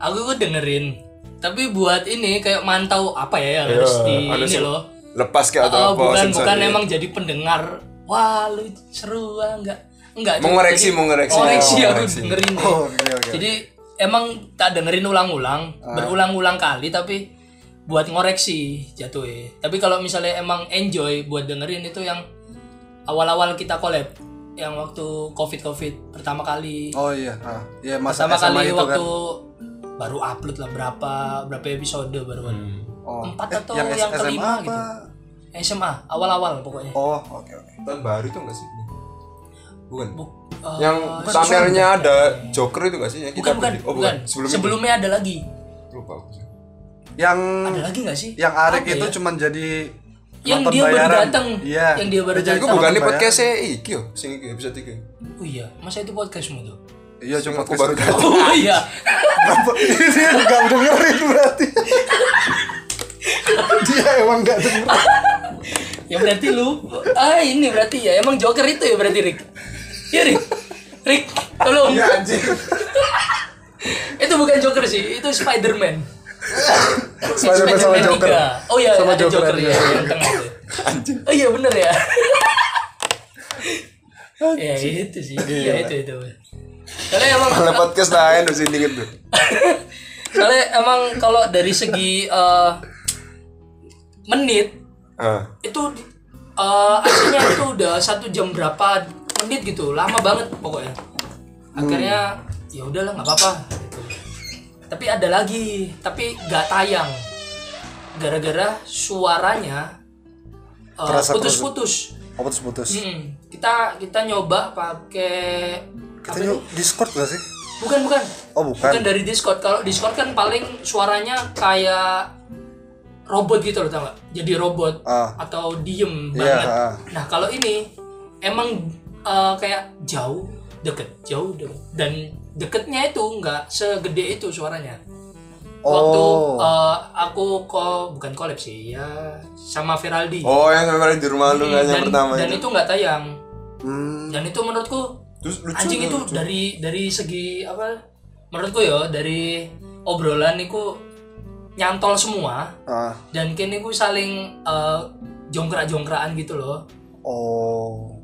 Speaker 3: aku tuh dengerin tapi buat ini kayak mantau apa ya yang harus di
Speaker 1: harus
Speaker 3: ini loh
Speaker 1: [LAUGHS] lepas ke
Speaker 3: Oh,
Speaker 1: Iya, atau apa ya.
Speaker 3: bukan
Speaker 1: sensor
Speaker 3: bukan
Speaker 1: dia.
Speaker 3: emang jadi pendengar wah lu seru ah enggak enggak
Speaker 1: Mau
Speaker 3: cuma
Speaker 1: ngoreksi,
Speaker 3: jadi-
Speaker 1: mau ngoreksi.
Speaker 3: ngoreksi
Speaker 1: Oh, iya.
Speaker 3: aku
Speaker 1: ngoreksi.
Speaker 3: dengerin nih.
Speaker 2: Oh, oke, oke.
Speaker 3: jadi emang tak dengerin ulang-ulang
Speaker 1: Ah.
Speaker 3: berulang-ulang kali tapi buat ngoreksi jatuh tapi kalau misalnya emang enjoy buat dengerin itu yang awal-awal kita collab yang waktu covid covid pertama kali
Speaker 2: Oh iya. Ah, iya masa SMA
Speaker 3: pertama kali
Speaker 2: itu
Speaker 3: waktu
Speaker 2: kan.
Speaker 3: baru upload lah berapa berapa episode baru kan.
Speaker 2: Oh.
Speaker 3: empat atau
Speaker 2: yang,
Speaker 3: yang
Speaker 2: SMA apa?
Speaker 3: kelima gitu. SMA awal-awal pokoknya
Speaker 2: Oh, oke oke.
Speaker 1: tahun baru itu enggak sih bukan
Speaker 3: Buk- eh,
Speaker 1: yang thumbnailnya ada Joker itu enggak sih yang kita
Speaker 3: bukan bukan,
Speaker 1: beli?
Speaker 3: bukan.
Speaker 1: oh bukan
Speaker 3: sebelumnya,
Speaker 1: sebelumnya
Speaker 3: ada lagi
Speaker 1: lupa aku sih.
Speaker 2: Yang
Speaker 3: ada lagi nggak sih
Speaker 2: yang Arik
Speaker 3: Apa
Speaker 2: itu
Speaker 3: ya?
Speaker 2: cuman jadi
Speaker 3: yang
Speaker 2: nonton
Speaker 3: dia baru
Speaker 2: bayaran.
Speaker 3: datang
Speaker 2: Iya.
Speaker 3: yang dia baru
Speaker 2: Dia jadi
Speaker 1: Iku
Speaker 3: datang
Speaker 1: bukan di
Speaker 2: Bayar.
Speaker 1: podcast iki yo, sing iki episode 3.
Speaker 3: oh iya masa itu podcastmu tuh
Speaker 2: Iya, cuma
Speaker 1: Aku baru
Speaker 2: Chris-
Speaker 3: oh iya
Speaker 2: [LAUGHS] dia nggak dengerin
Speaker 3: [LAUGHS]
Speaker 2: berarti. dia emang nggak dengerin.
Speaker 3: ya berarti lu ah ini berarti ya emang joker itu ya berarti Rick ya Rick Rick tolong
Speaker 2: Iya,
Speaker 1: anjing.
Speaker 3: itu bukan joker sih itu Spiderman
Speaker 2: Spider-Man sama
Speaker 3: Spider-Man
Speaker 2: Joker.
Speaker 3: tiga. oh iya
Speaker 2: Sama
Speaker 3: ada
Speaker 2: Joker
Speaker 3: joker,
Speaker 2: ada
Speaker 3: ya
Speaker 2: Joker.
Speaker 3: yang tengah tuh. oh iya bener ya ya itu sih ya itu itu soalnya emang
Speaker 1: Ada podcast lain harus inget tuh.
Speaker 3: soalnya emang kalau dari segi eh, menit
Speaker 1: Ah.
Speaker 3: itu eh, aslinya itu udah satu jam berapa menit gitu lama banget pokoknya akhirnya ya udahlah nggak apa-apa gitu. tapi ada lagi tapi nggak tayang gara-gara suaranya eh,
Speaker 2: Terasa-
Speaker 3: putus-putus
Speaker 2: Oh, putus-putus.
Speaker 3: Mm-mm. kita kita nyoba pakai
Speaker 2: Kita
Speaker 3: apa
Speaker 2: nyok
Speaker 3: itu?
Speaker 2: Discord gak sih?
Speaker 3: bukan bukan
Speaker 2: Oh, bukan.
Speaker 3: bukan dari Discord kalau Discord kan paling suaranya kayak robot gitu loh tau nggak? jadi robot
Speaker 2: Ah.
Speaker 3: atau diem
Speaker 2: Iya,
Speaker 3: banget
Speaker 2: ah.
Speaker 3: nah kalau ini emang eh, kayak jauh deket jauh deket dan deketnya itu nggak segede itu suaranya waktu
Speaker 2: Oh.
Speaker 3: eh, aku kok bukan collab sih ya sama Feraldi
Speaker 1: Oh, yang kemarin di rumah lu
Speaker 3: Hmm,
Speaker 1: kan yang
Speaker 3: dan,
Speaker 1: pertama
Speaker 3: dan
Speaker 1: itu.
Speaker 3: itu nggak tayang
Speaker 2: Hmm.
Speaker 3: dan itu menurutku
Speaker 1: Terus lucu.
Speaker 3: anjing
Speaker 1: tuh,
Speaker 3: itu
Speaker 1: lucu.
Speaker 3: dari dari segi apa menurutku ya dari obrolan itu nyantol semua
Speaker 2: Ah.
Speaker 3: dan kini ku saling eh, jongkrak-jongkrakan gitu loh
Speaker 2: Oh.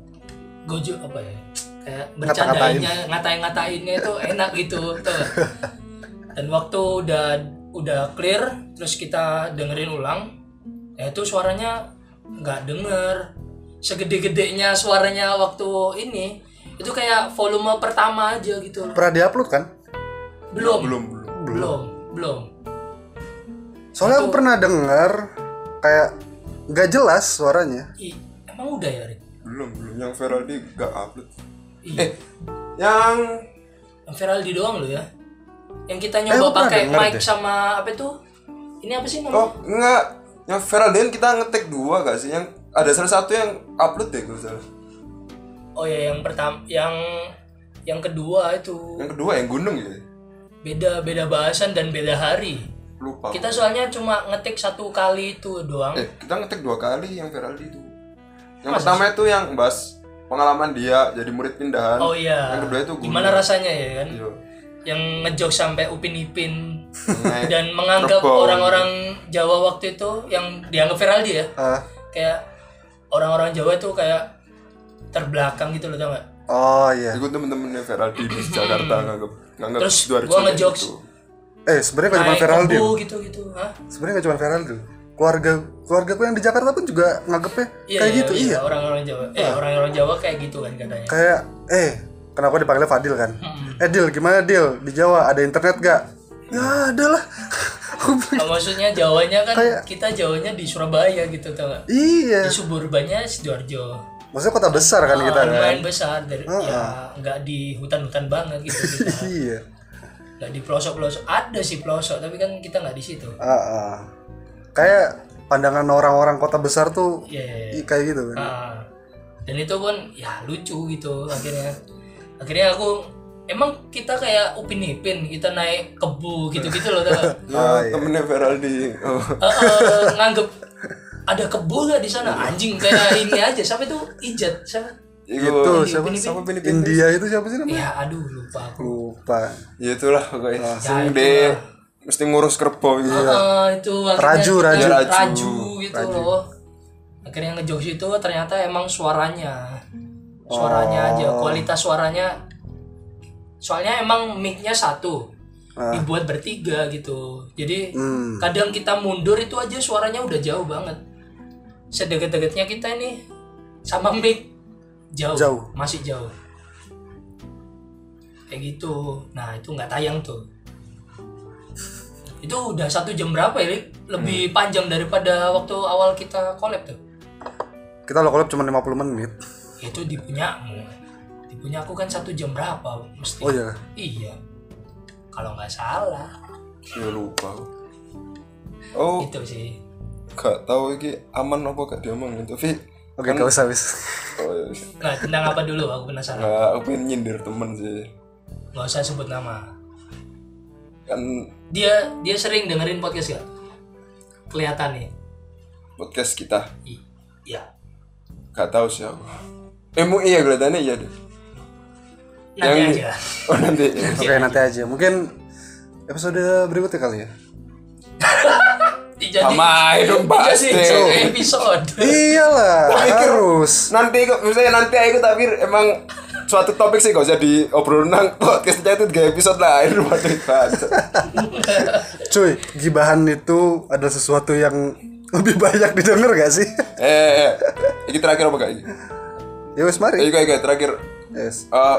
Speaker 3: gojo apa ya kayak bercandanya ngatain-ngatainnya itu enak gitu tuh dan waktu udah udah clear terus kita dengerin ulang ya itu suaranya nggak denger segede-gedenya suaranya waktu ini itu kayak volume pertama aja gitu
Speaker 2: Pernah diupload kan?
Speaker 3: belum
Speaker 1: belum belum.
Speaker 3: belum belum
Speaker 2: Soalnya aku pernah denger kayak nggak jelas suaranya.
Speaker 3: I- emang udah ya Rik?
Speaker 1: Belum, belum. Yang Feraldi gak upload.
Speaker 3: Iya.
Speaker 1: Eh, yang
Speaker 3: yang viral di doang lo ya yang kita
Speaker 2: Eh, lu
Speaker 3: nyoba
Speaker 2: pernah
Speaker 3: pakai
Speaker 2: denger
Speaker 3: mic
Speaker 2: deh.
Speaker 3: sama apa itu ini apa sih
Speaker 1: oh,
Speaker 3: namanya
Speaker 1: enggak. Yang Feraldi kan kita ngetek dua gak sih? Yang ada salah satu yang upload deh kalau salah.
Speaker 3: oh, ya yang pertama yang yang kedua itu
Speaker 1: Yang kedua yang gunung ya.
Speaker 3: beda beda bahasan dan beda hari
Speaker 1: Lupa.
Speaker 3: kita soalnya cuma ngetik satu kali itu doang
Speaker 1: eh kita ngetek dua kali yang Feraldi itu yang pertama itu yang bahas pengalaman dia jadi murid pindahan
Speaker 3: oh iya
Speaker 1: kan? yang kedua itu gunung.
Speaker 3: gimana rasanya ya kan
Speaker 1: Iya.
Speaker 3: yang ngejok sampai upin
Speaker 1: [LAUGHS]
Speaker 3: ipin
Speaker 1: Naik
Speaker 3: dan menganggap
Speaker 1: Rebon.
Speaker 3: orang-orang Jawa waktu itu yang dianggap viral dia ya
Speaker 2: Ah.
Speaker 3: kayak orang-orang Jawa itu kayak terbelakang gitu loh tau gak?
Speaker 2: Oh iya.
Speaker 1: ikut temen-temennya Feraldi di Jakarta nganggap nganggap
Speaker 3: Terus
Speaker 1: Sidoarjo
Speaker 3: gua
Speaker 1: kayak
Speaker 3: ngejokes.
Speaker 1: gitu.
Speaker 2: Eh sebenarnya nggak cuma
Speaker 3: Naik
Speaker 2: viral
Speaker 3: kebu gitu gitu, Hah?
Speaker 2: Sebenarnya nggak cuma viral Keluarga keluargaku yang di Jakarta pun juga nganggepnya
Speaker 3: Iya,
Speaker 2: kayak
Speaker 3: iya,
Speaker 2: gitu.
Speaker 3: iya,
Speaker 2: Iya.
Speaker 3: Orang-orang Jawa, eh orang-orang Jawa kayak gitu kan katanya.
Speaker 2: Kayak eh kenapa dipanggilnya Fadil kan?
Speaker 3: Hmm.
Speaker 2: Eh Dil gimana Dil di Jawa ada internet gak? Ya ada lah. [LAUGHS] Aku bilang,
Speaker 3: Nah, maksudnya Jawanya kan
Speaker 2: Kayak-
Speaker 3: kita Jawanya di Surabaya gitu tau gak? Di
Speaker 2: iya.
Speaker 3: suburbannya sidoarjo.
Speaker 2: Maksudnya kota besar kan kita
Speaker 3: Ah,
Speaker 2: kan? [LAUGHS]
Speaker 3: lumayan besar dari ya nggak di hutan-hutan banget gitu kita.
Speaker 2: Iya.
Speaker 3: nggak di pelosok pelosok ada sih pelosok tapi kan kita nggak di situ
Speaker 2: Ah, ah. kayak pandangan orang-orang kota besar tuh
Speaker 3: Iya, iya, iya.
Speaker 2: i- kayak gitu kan
Speaker 3: Ah. dan itu pun ya lucu gitu akhirnya akhirnya aku emang kita kayak upin ipin kita naik kebu gitu gitu loh tau
Speaker 2: [LAUGHS]
Speaker 3: nggak?
Speaker 1: Ah, temennya Feraldi oh.
Speaker 3: Eh, eh, nganggep ada kebu nggak di sana anjing kayak ini aja siapa itu ijat siapa
Speaker 1: itu
Speaker 2: tuh
Speaker 3: Ipin,
Speaker 2: siapa
Speaker 3: Ipin,
Speaker 1: Gitu, siapa Ipin, Ipin?
Speaker 2: India itu siapa sih namanya
Speaker 3: ya aduh lupa aku
Speaker 2: lupa
Speaker 1: ya itulah pokoknya langsung
Speaker 3: Ya,
Speaker 1: deh
Speaker 3: itulah.
Speaker 1: mesti ngurus kerbau gitu
Speaker 3: Ah, itu
Speaker 2: Iya.
Speaker 3: akhirnya
Speaker 2: Raju,
Speaker 3: kita-
Speaker 2: raju.
Speaker 3: raju, gitu loh akhirnya ngejokes itu ternyata emang suaranya
Speaker 2: Oh.
Speaker 3: suaranya aja kualitas suaranya soalnya emang mic-nya satu dibuat bertiga gitu
Speaker 2: Ah.
Speaker 3: jadi
Speaker 2: Hmm.
Speaker 3: kadang kita mundur itu aja suaranya udah jauh banget sedeget-degetnya kita ini sama mic jauh,
Speaker 2: Jauh.
Speaker 3: masih jauh kayak gitu nah itu nggak tayang tuh itu udah satu jam berapa ya Lik? lebih
Speaker 2: Hmm.
Speaker 3: panjang daripada waktu awal kita collab tuh
Speaker 2: kita lo collab cuma 50 menit
Speaker 3: itu di punyamu di punya aku kan satu jam berapa mesti
Speaker 2: oh iya
Speaker 3: iya kalau nggak salah
Speaker 1: ya lupa oh
Speaker 3: itu sih
Speaker 1: gak tahu ini aman apa gak diomongin tapi
Speaker 2: oke gak usah wis
Speaker 1: oh, ya.
Speaker 3: nah tentang apa dulu aku penasaran
Speaker 1: Nah, aku pengen nyindir temen sih
Speaker 3: nggak usah sebut nama
Speaker 1: kan
Speaker 3: dia dia sering dengerin podcast gak kelihatan nih
Speaker 1: podcast kita
Speaker 3: I- iya
Speaker 1: gak tahu sih aku emang iya kelihatannya iya deh
Speaker 3: nanti
Speaker 1: Yang-
Speaker 3: aja
Speaker 1: oh
Speaker 3: [LAUGHS]
Speaker 1: nanti ya.
Speaker 2: oke nanti aja mungkin episode berikutnya kali ya
Speaker 3: dijadi
Speaker 1: sama Iya. dong bahas
Speaker 3: dijadi
Speaker 1: deh
Speaker 3: satu
Speaker 1: [LAUGHS]
Speaker 3: episode
Speaker 2: iyalah harus
Speaker 1: nanti kok misalnya nanti aku tapi emang suatu topik sih gak usah diobrolin nang podcast kita itu tiga episode lah ini buat dibahas
Speaker 2: cuy gibahan itu adalah sesuatu yang lebih banyak didengar gak sih [LAUGHS]
Speaker 1: eh, eh, eh. ini terakhir apa gak ini
Speaker 2: ya wis mari
Speaker 1: ini kayak kayak terakhir
Speaker 2: yes
Speaker 1: Eh,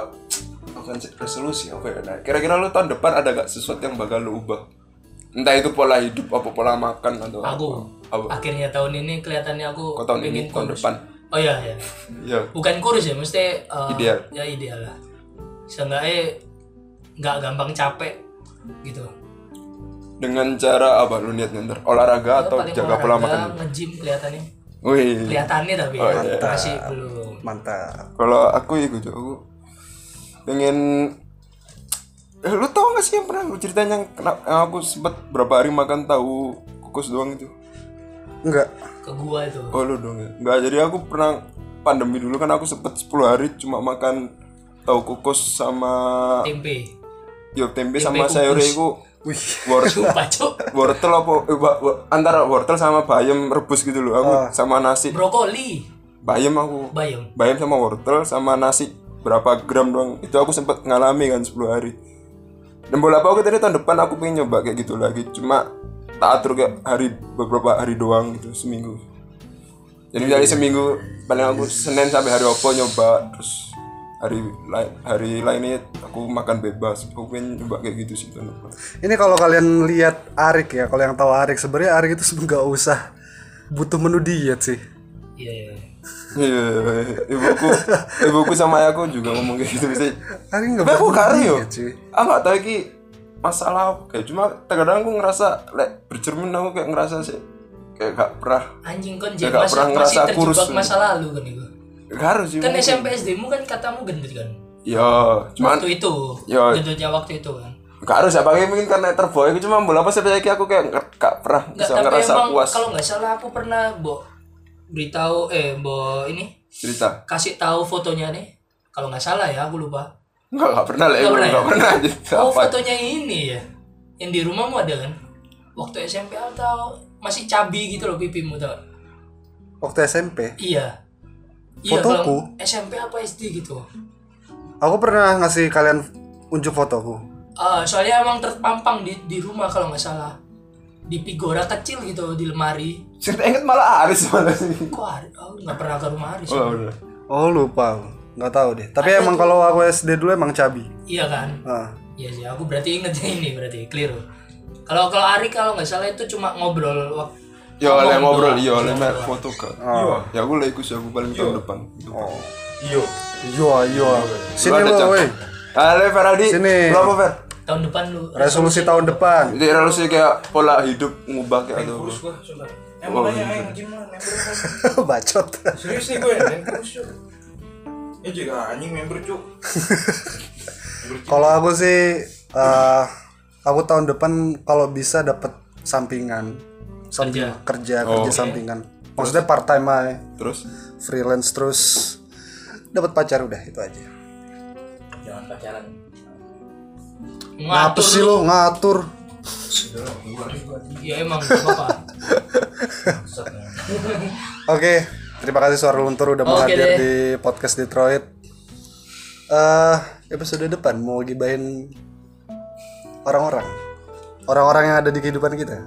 Speaker 1: bukan sih, resolusi apa ya nah, kira-kira lu tahun depan ada gak sesuatu yang bakal lu ubah entah itu pola hidup apa pola makan atau
Speaker 3: aku
Speaker 1: apa
Speaker 3: akhirnya tahun ini kelihatannya aku
Speaker 1: Kok tahun
Speaker 3: pengen
Speaker 1: ini, tahun
Speaker 3: kurus.
Speaker 1: depan?
Speaker 3: oh iya iya
Speaker 1: ya
Speaker 3: bukan kurus ya mesti eh,
Speaker 1: Ideal.
Speaker 3: ya ideal lah seenggaknya nggak gampang capek gitu
Speaker 1: dengan cara apa lu niatnya ntar olahraga atau
Speaker 3: Paling
Speaker 1: jaga pola makan
Speaker 3: olahraga, nge-gym kelihatannya
Speaker 1: wih
Speaker 3: kelihatannya tapi
Speaker 1: Oh, iya.
Speaker 3: masih belum
Speaker 2: mantap
Speaker 1: kalau aku ya gitu aku pengen eh, lu tau gak sih yang pernah lu ceritain yang, kena- yang aku sempet berapa hari makan tahu kukus doang itu
Speaker 2: enggak
Speaker 3: ke gua itu
Speaker 1: oh lu dong ya nggak jadi aku pernah pandemi dulu kan aku sempet 10 hari cuma makan tahu kukus sama
Speaker 3: tempe [LAUGHS]
Speaker 1: yo tempe sama
Speaker 3: kukus.
Speaker 1: sayur itu
Speaker 2: wih
Speaker 1: wortel
Speaker 3: lupa cuk
Speaker 1: wortel apa eh, wa- wa- antara wortel sama bayam rebus gitu loh aku sama nasi
Speaker 3: brokoli
Speaker 1: bayam aku
Speaker 3: bayam
Speaker 1: bayam sama wortel sama nasi berapa gram doang itu aku sempat ngalami kan 10 hari dan bola apa aku tadi tahun depan aku pengen nyoba kayak gitu lagi cuma tak atur kayak hari beberapa hari doang gitu seminggu jadi dari seminggu paling aku senin sampai hari opo nyoba terus hari lain hari lainnya aku makan bebas aku pengen nyoba kayak gitu sih tahun depan
Speaker 2: ini kalau kalian lihat Arik ya kalau yang tahu Arik sebenarnya Arik itu [LAUGHS] nggak usah butuh menu diet sih
Speaker 3: iya iya
Speaker 1: iya ibuku ibuku sama ayahku juga ngomong kayak gitu sih
Speaker 2: Arik nggak
Speaker 1: Tapi aku
Speaker 2: butuh
Speaker 1: kari
Speaker 2: menu
Speaker 1: yo.
Speaker 2: diet, Iya, cuy.
Speaker 1: Aku gak tahu iki masalah kayak cuma terkadang aku ngerasa lek bercermin aku kayak ngerasa sih kayak gak pernah
Speaker 3: anjing kan
Speaker 1: Ya,
Speaker 3: jadi
Speaker 1: nggak
Speaker 3: masih,
Speaker 1: pernah
Speaker 3: masih
Speaker 1: ngerasa kurus. Iya.
Speaker 3: terjebak masa lalu kan itu
Speaker 1: gak harus sih.
Speaker 3: kan
Speaker 1: mungkin.
Speaker 3: SMP SD mu kan katamu gendut kan
Speaker 1: Yo, cuman
Speaker 3: waktu itu
Speaker 1: Ya.
Speaker 3: gendutnya waktu itu kan
Speaker 1: gak harus apa mungkin karena terbawa aku cuma bola apa saya aku kayak nggak- gak pernah
Speaker 3: nggak
Speaker 1: bisa
Speaker 3: tapi
Speaker 1: ngerasa
Speaker 3: emang
Speaker 1: puas
Speaker 3: kalau nggak salah aku pernah bo beritahu eh bo ini
Speaker 1: cerita.
Speaker 3: kasih tahu fotonya nih kalau nggak salah ya aku lupa
Speaker 1: Enggak, gak pernah lek
Speaker 3: Nggak
Speaker 1: aku
Speaker 3: pernah
Speaker 1: gak
Speaker 3: ya?
Speaker 1: pernah aja.
Speaker 3: oh
Speaker 1: Apa?
Speaker 3: fotonya ini ya yang di rumahmu ada kan waktu SMP atau masih cabi gitu loh pipimu tau nggak?
Speaker 2: waktu SMP
Speaker 3: iya
Speaker 2: Fotoku?
Speaker 3: kalau SMP apa SD gitu
Speaker 2: aku pernah ngasih kalian unjuk fotoku
Speaker 3: Eh, soalnya emang terpampang di di rumah kalau nggak salah di pigora kecil gitu di lemari
Speaker 1: Cerita inget malah Aris malah sih.
Speaker 3: kok Ari- aku nggak pernah ke rumah Aris
Speaker 1: Oh, udah.
Speaker 2: oh lupa aku. nggak tahu deh tapi emang kalau aku SD dulu emang cabi
Speaker 3: iya kan
Speaker 2: Ah.
Speaker 3: Iya sih, aku berarti ingetnya [LAUGHS] ini berarti keliru. Kalau kalau Ari kalau nggak salah itu cuma ngobrol waktu
Speaker 1: Yo, lek Iya, ngobrol, yo,
Speaker 3: Cuma
Speaker 1: lek
Speaker 3: ngobrol.
Speaker 1: foto gak. Ya aku lek ikut sih, aku paling tahun depan.
Speaker 2: Ah. oh
Speaker 5: Iyo.
Speaker 2: iya iya
Speaker 1: Lu
Speaker 2: sini
Speaker 1: ada, Cang?
Speaker 2: lo woi
Speaker 1: Halo Feraldi.
Speaker 2: Sini.
Speaker 1: Lu apa Fer?
Speaker 3: tahun depan lu
Speaker 2: resolusi tahun depan [LAUGHS]
Speaker 1: Jadi harusnya kayak pola hidup ngubah kayak gitu.
Speaker 5: Kurus gua, sumpah. Emang banyak aing nge-gym lah, member gua.
Speaker 2: bacot
Speaker 5: Serius nih gue, main kurus cuy. Ya juga anjing member cuy. Member, cuy.
Speaker 2: kalau aku sih eh, aku tahun depan kalau bisa dapat sampingan
Speaker 3: kerja
Speaker 2: kerja
Speaker 1: Oh.
Speaker 2: kerja sampingan maksudnya part time aja
Speaker 1: Terus
Speaker 2: freelance terus dapat pacar udah itu aja
Speaker 5: Jangan pacaran.
Speaker 2: ngatur sih lo ngatur
Speaker 3: ya emang gak apa-apa
Speaker 2: oke terima kasih suara luntur udah mau
Speaker 3: Oke
Speaker 2: hadir
Speaker 3: deh.
Speaker 2: di podcast Detroit eh episode depan mau gibahin orang-orang orang-orang yang ada di kehidupan kita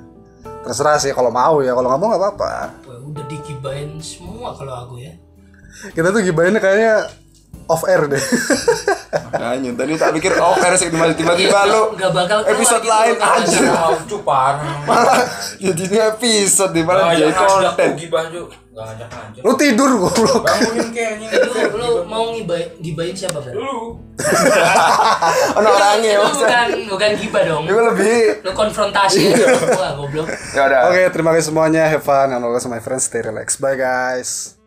Speaker 2: terserah sih kalau mau ya kalau nggak mau nggak apa-apa
Speaker 3: Wah, udah digibain semua kalau aku ya
Speaker 2: kita tuh gibahinnya kayaknya off air
Speaker 1: [LAUGHS]
Speaker 2: deh
Speaker 1: makanya tadi tak pikir oh versi tiba-tiba Ya lu
Speaker 3: Nggak bakal keluar
Speaker 1: episode
Speaker 3: gitu,
Speaker 1: lain
Speaker 3: nggak
Speaker 1: aja.
Speaker 5: Mau cuy parah.
Speaker 1: Malah jadinya episode
Speaker 2: Iya,
Speaker 1: di
Speaker 5: Gak
Speaker 1: malah jadi
Speaker 5: ngajak ngajak
Speaker 1: konten.
Speaker 5: gua gibah cuy. Gak ngajak ngajak.
Speaker 2: lu tidur goblok
Speaker 5: Bangunin kayaknya.
Speaker 3: lu lu mau ngibain gibain siapa bro?
Speaker 5: Lu.
Speaker 1: Ono orangnya
Speaker 3: lu
Speaker 1: maksudnya.
Speaker 3: bukan bukan gibah dong
Speaker 1: Itu lebih
Speaker 3: lu konfrontasi wah goblok
Speaker 1: ya udah.
Speaker 2: Oke, terima kasih semuanya. Have fun and always my friends stay relaxed. Bye guys.